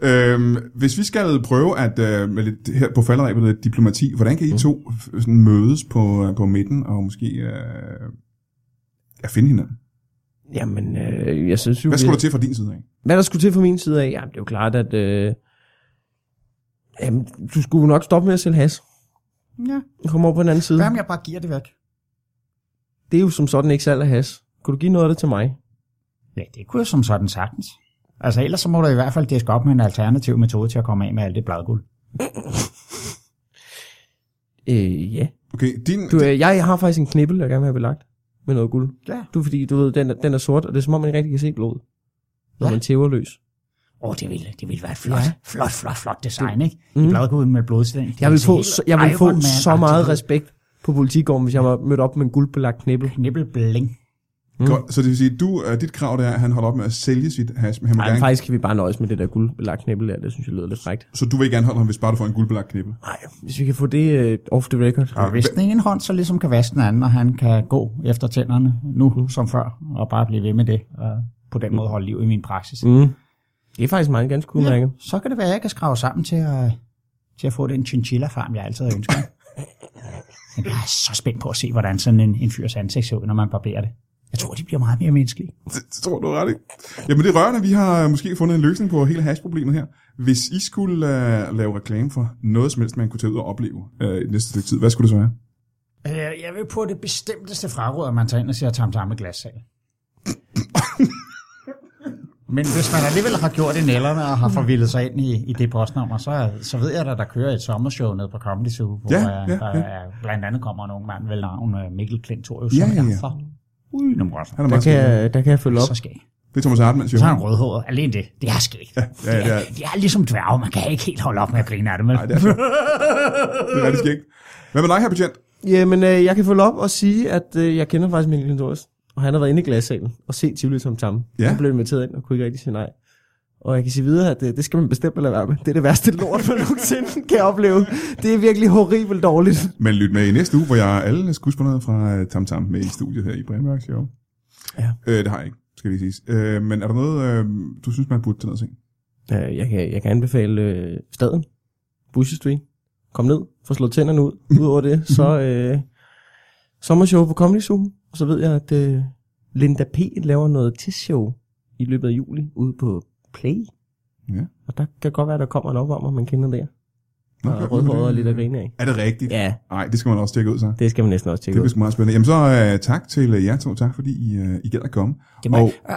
Øhm, hvis vi skal prøve at øh, med lidt, her på falderæbet lidt diplomati, hvordan kan I to f- sådan mødes på, øh, på midten og måske øh, at finde hinanden? Jamen, øh, jeg synes jo... Hvad vi- skulle der til fra din side af? Hvad der skulle til fra min side af? Jamen, det er jo klart, at... Øh, jamen, du skulle jo nok stoppe med at sælge has. Ja. Kom over på den anden side. Hvad om jeg bare giver det væk? Det er jo som sådan ikke salg af has. Kunne du give noget af det til mig? Ja, det kunne jeg som sådan sagtens. Altså ellers så må du i hvert fald diske op med en alternativ metode til at komme af med alt det bladguld. Øh, ja. Okay, din, Du, øh, jeg har faktisk en knibbel, jeg gerne vil have belagt med noget guld. Ja. Du, fordi du ved, den er, den er sort, og det er som om, man ikke rigtig kan se blod, når Ja. man tæver løs. Åh, oh, det ville, det ville være et flot, Ja. flot, flot, flot design, ikke? Mm. Mm. Bladguld med blodsten. Jeg vil få, så, jeg vil få så meget respekt på politigården, hvis jeg var mødt op med en guldbelagt knibbel. Knibbelbling. mm. godt, så det vil sige, at du, øh, dit krav det er, at han holder op med at sælge sit hash, men han vil Nej, gerne, faktisk kan vi bare nøjes med det der guldbelagt knibbel der. Det synes jeg lyder lidt frækt. så du vil ikke anholde ham, hvis bare du får en guldbelagt knippe. Nej, hvis vi kan få det øh, off the record. Og hvis den ene hånd så ligesom kan vaske den anden, og han kan gå efter tænderne nu som før, og bare blive ved med det, og på den måde holde liv i min praksis. Mm. Det er faktisk meget ganske udmærket. Så kan det være, at jeg kan skrave sammen til at, til at få den chinchilla-farm, jeg altid har ønsket. Men jeg er så spændt på at se, hvordan sådan en, en fyrs ansigt ser ud, når man barberer det. Jeg tror, de bliver meget mere menneskelige. Det, det tror du er ret, ikke? Jamen det er rørende, vi har øh, måske fundet en løsning på hele hashproblemet her. Hvis I skulle uh, lave reklame for noget som helst, man kunne tage ud og opleve uh, i det næste stykke tid, hvad skulle det så være? Øh, Jeg vil på det bestemteste fraråd, at man tager ind og siger tamtam med glassal. Men hvis man alligevel har gjort det nællerne og har forvildet sig ind i, i det postnummer, så, så ved jeg da, der kører et sommershow nede på Comedy Zoo, hvor Ja, ja, ja, ja, der ja. er, blandt andet kommer en ung mand ved navn øh, Mikkel Klintorius, Ja, som ja, ja. er for udenomrørende. Han er Der meget kan, skæg. jeg, der kan jeg følge op. Så skal I. Det er Thomas Hartmann, siger Så er hun. han rødhåret. Alene det. Det er skægt. Ja, ja, det er- det er ligesom dværge. Man kan ikke helt holde op med at grine af det, vel? Nej, det er sjovt. Det er rigtig skægt. Hvad med dig, her betjent? Jamen, øh, jeg kan følge op og sige, at øh, jeg kender faktisk Mikkel Klintorius, og han har været inde i glassalen og set Tivoli som tamme. Ja. Han blev inviteret ind og kunne ikke rigtig sige nej. Og jeg kan sige videre, at øh, det skal man bestemt lade være med. Det er det værste lort, man nogensinde kan opleve. Det er virkelig horribelt dårligt. Men lyt med i næste uge, hvor jeg har alle skuespillere fra øh, Tam Tam med i studiet her i Brandmærk Show. Ja. Øh, det har jeg ikke, skal lige siges. Øh, men er der noget, øh, du synes, man burde tage ned og se? Øh, jeg, kan, jeg kan anbefale øh, staden, Bushy Street. Kom ned, få slået tænderne ud. Udover det, så øh, sommershow på Comedy Zoo. Og så ved jeg, at øh, Linda P. laver noget testshow i løbet af juli ude på Play. Ja. Og der kan godt være, der kommer en opvarmer, man kender der. Nå, Og rødhåret og lidt at grine af. Er det rigtigt? Ja, Nej, det skal man også tjekke ud, så. det skal man næsten også tjekke Det ud. bliver sgu meget spændende. Jamen så øh, tak til øh, jer to. Tak fordi I, øh, I gad at komme. Jamen, Og- og...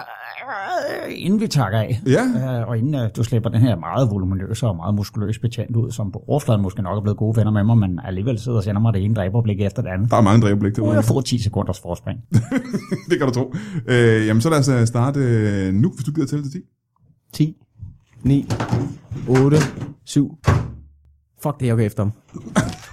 inden vi takker af, Ja, øh, og inden øh, du slipper den her meget voluminøse og meget muskuløse betjent ud, som på overfladen måske nok er blevet gode venner med mig, men alligevel sidder og sender mig det ene dræberblik efter det andet. der er mange dræbeblik Nu derude. jeg får 10 sekunders forspring. det kan du tro. Øh, jamen så lad os øh, starte øh, nu, hvis du gider tælle til 10. 10, 9, 8, 7. Fuck det, er jeg går efter ham.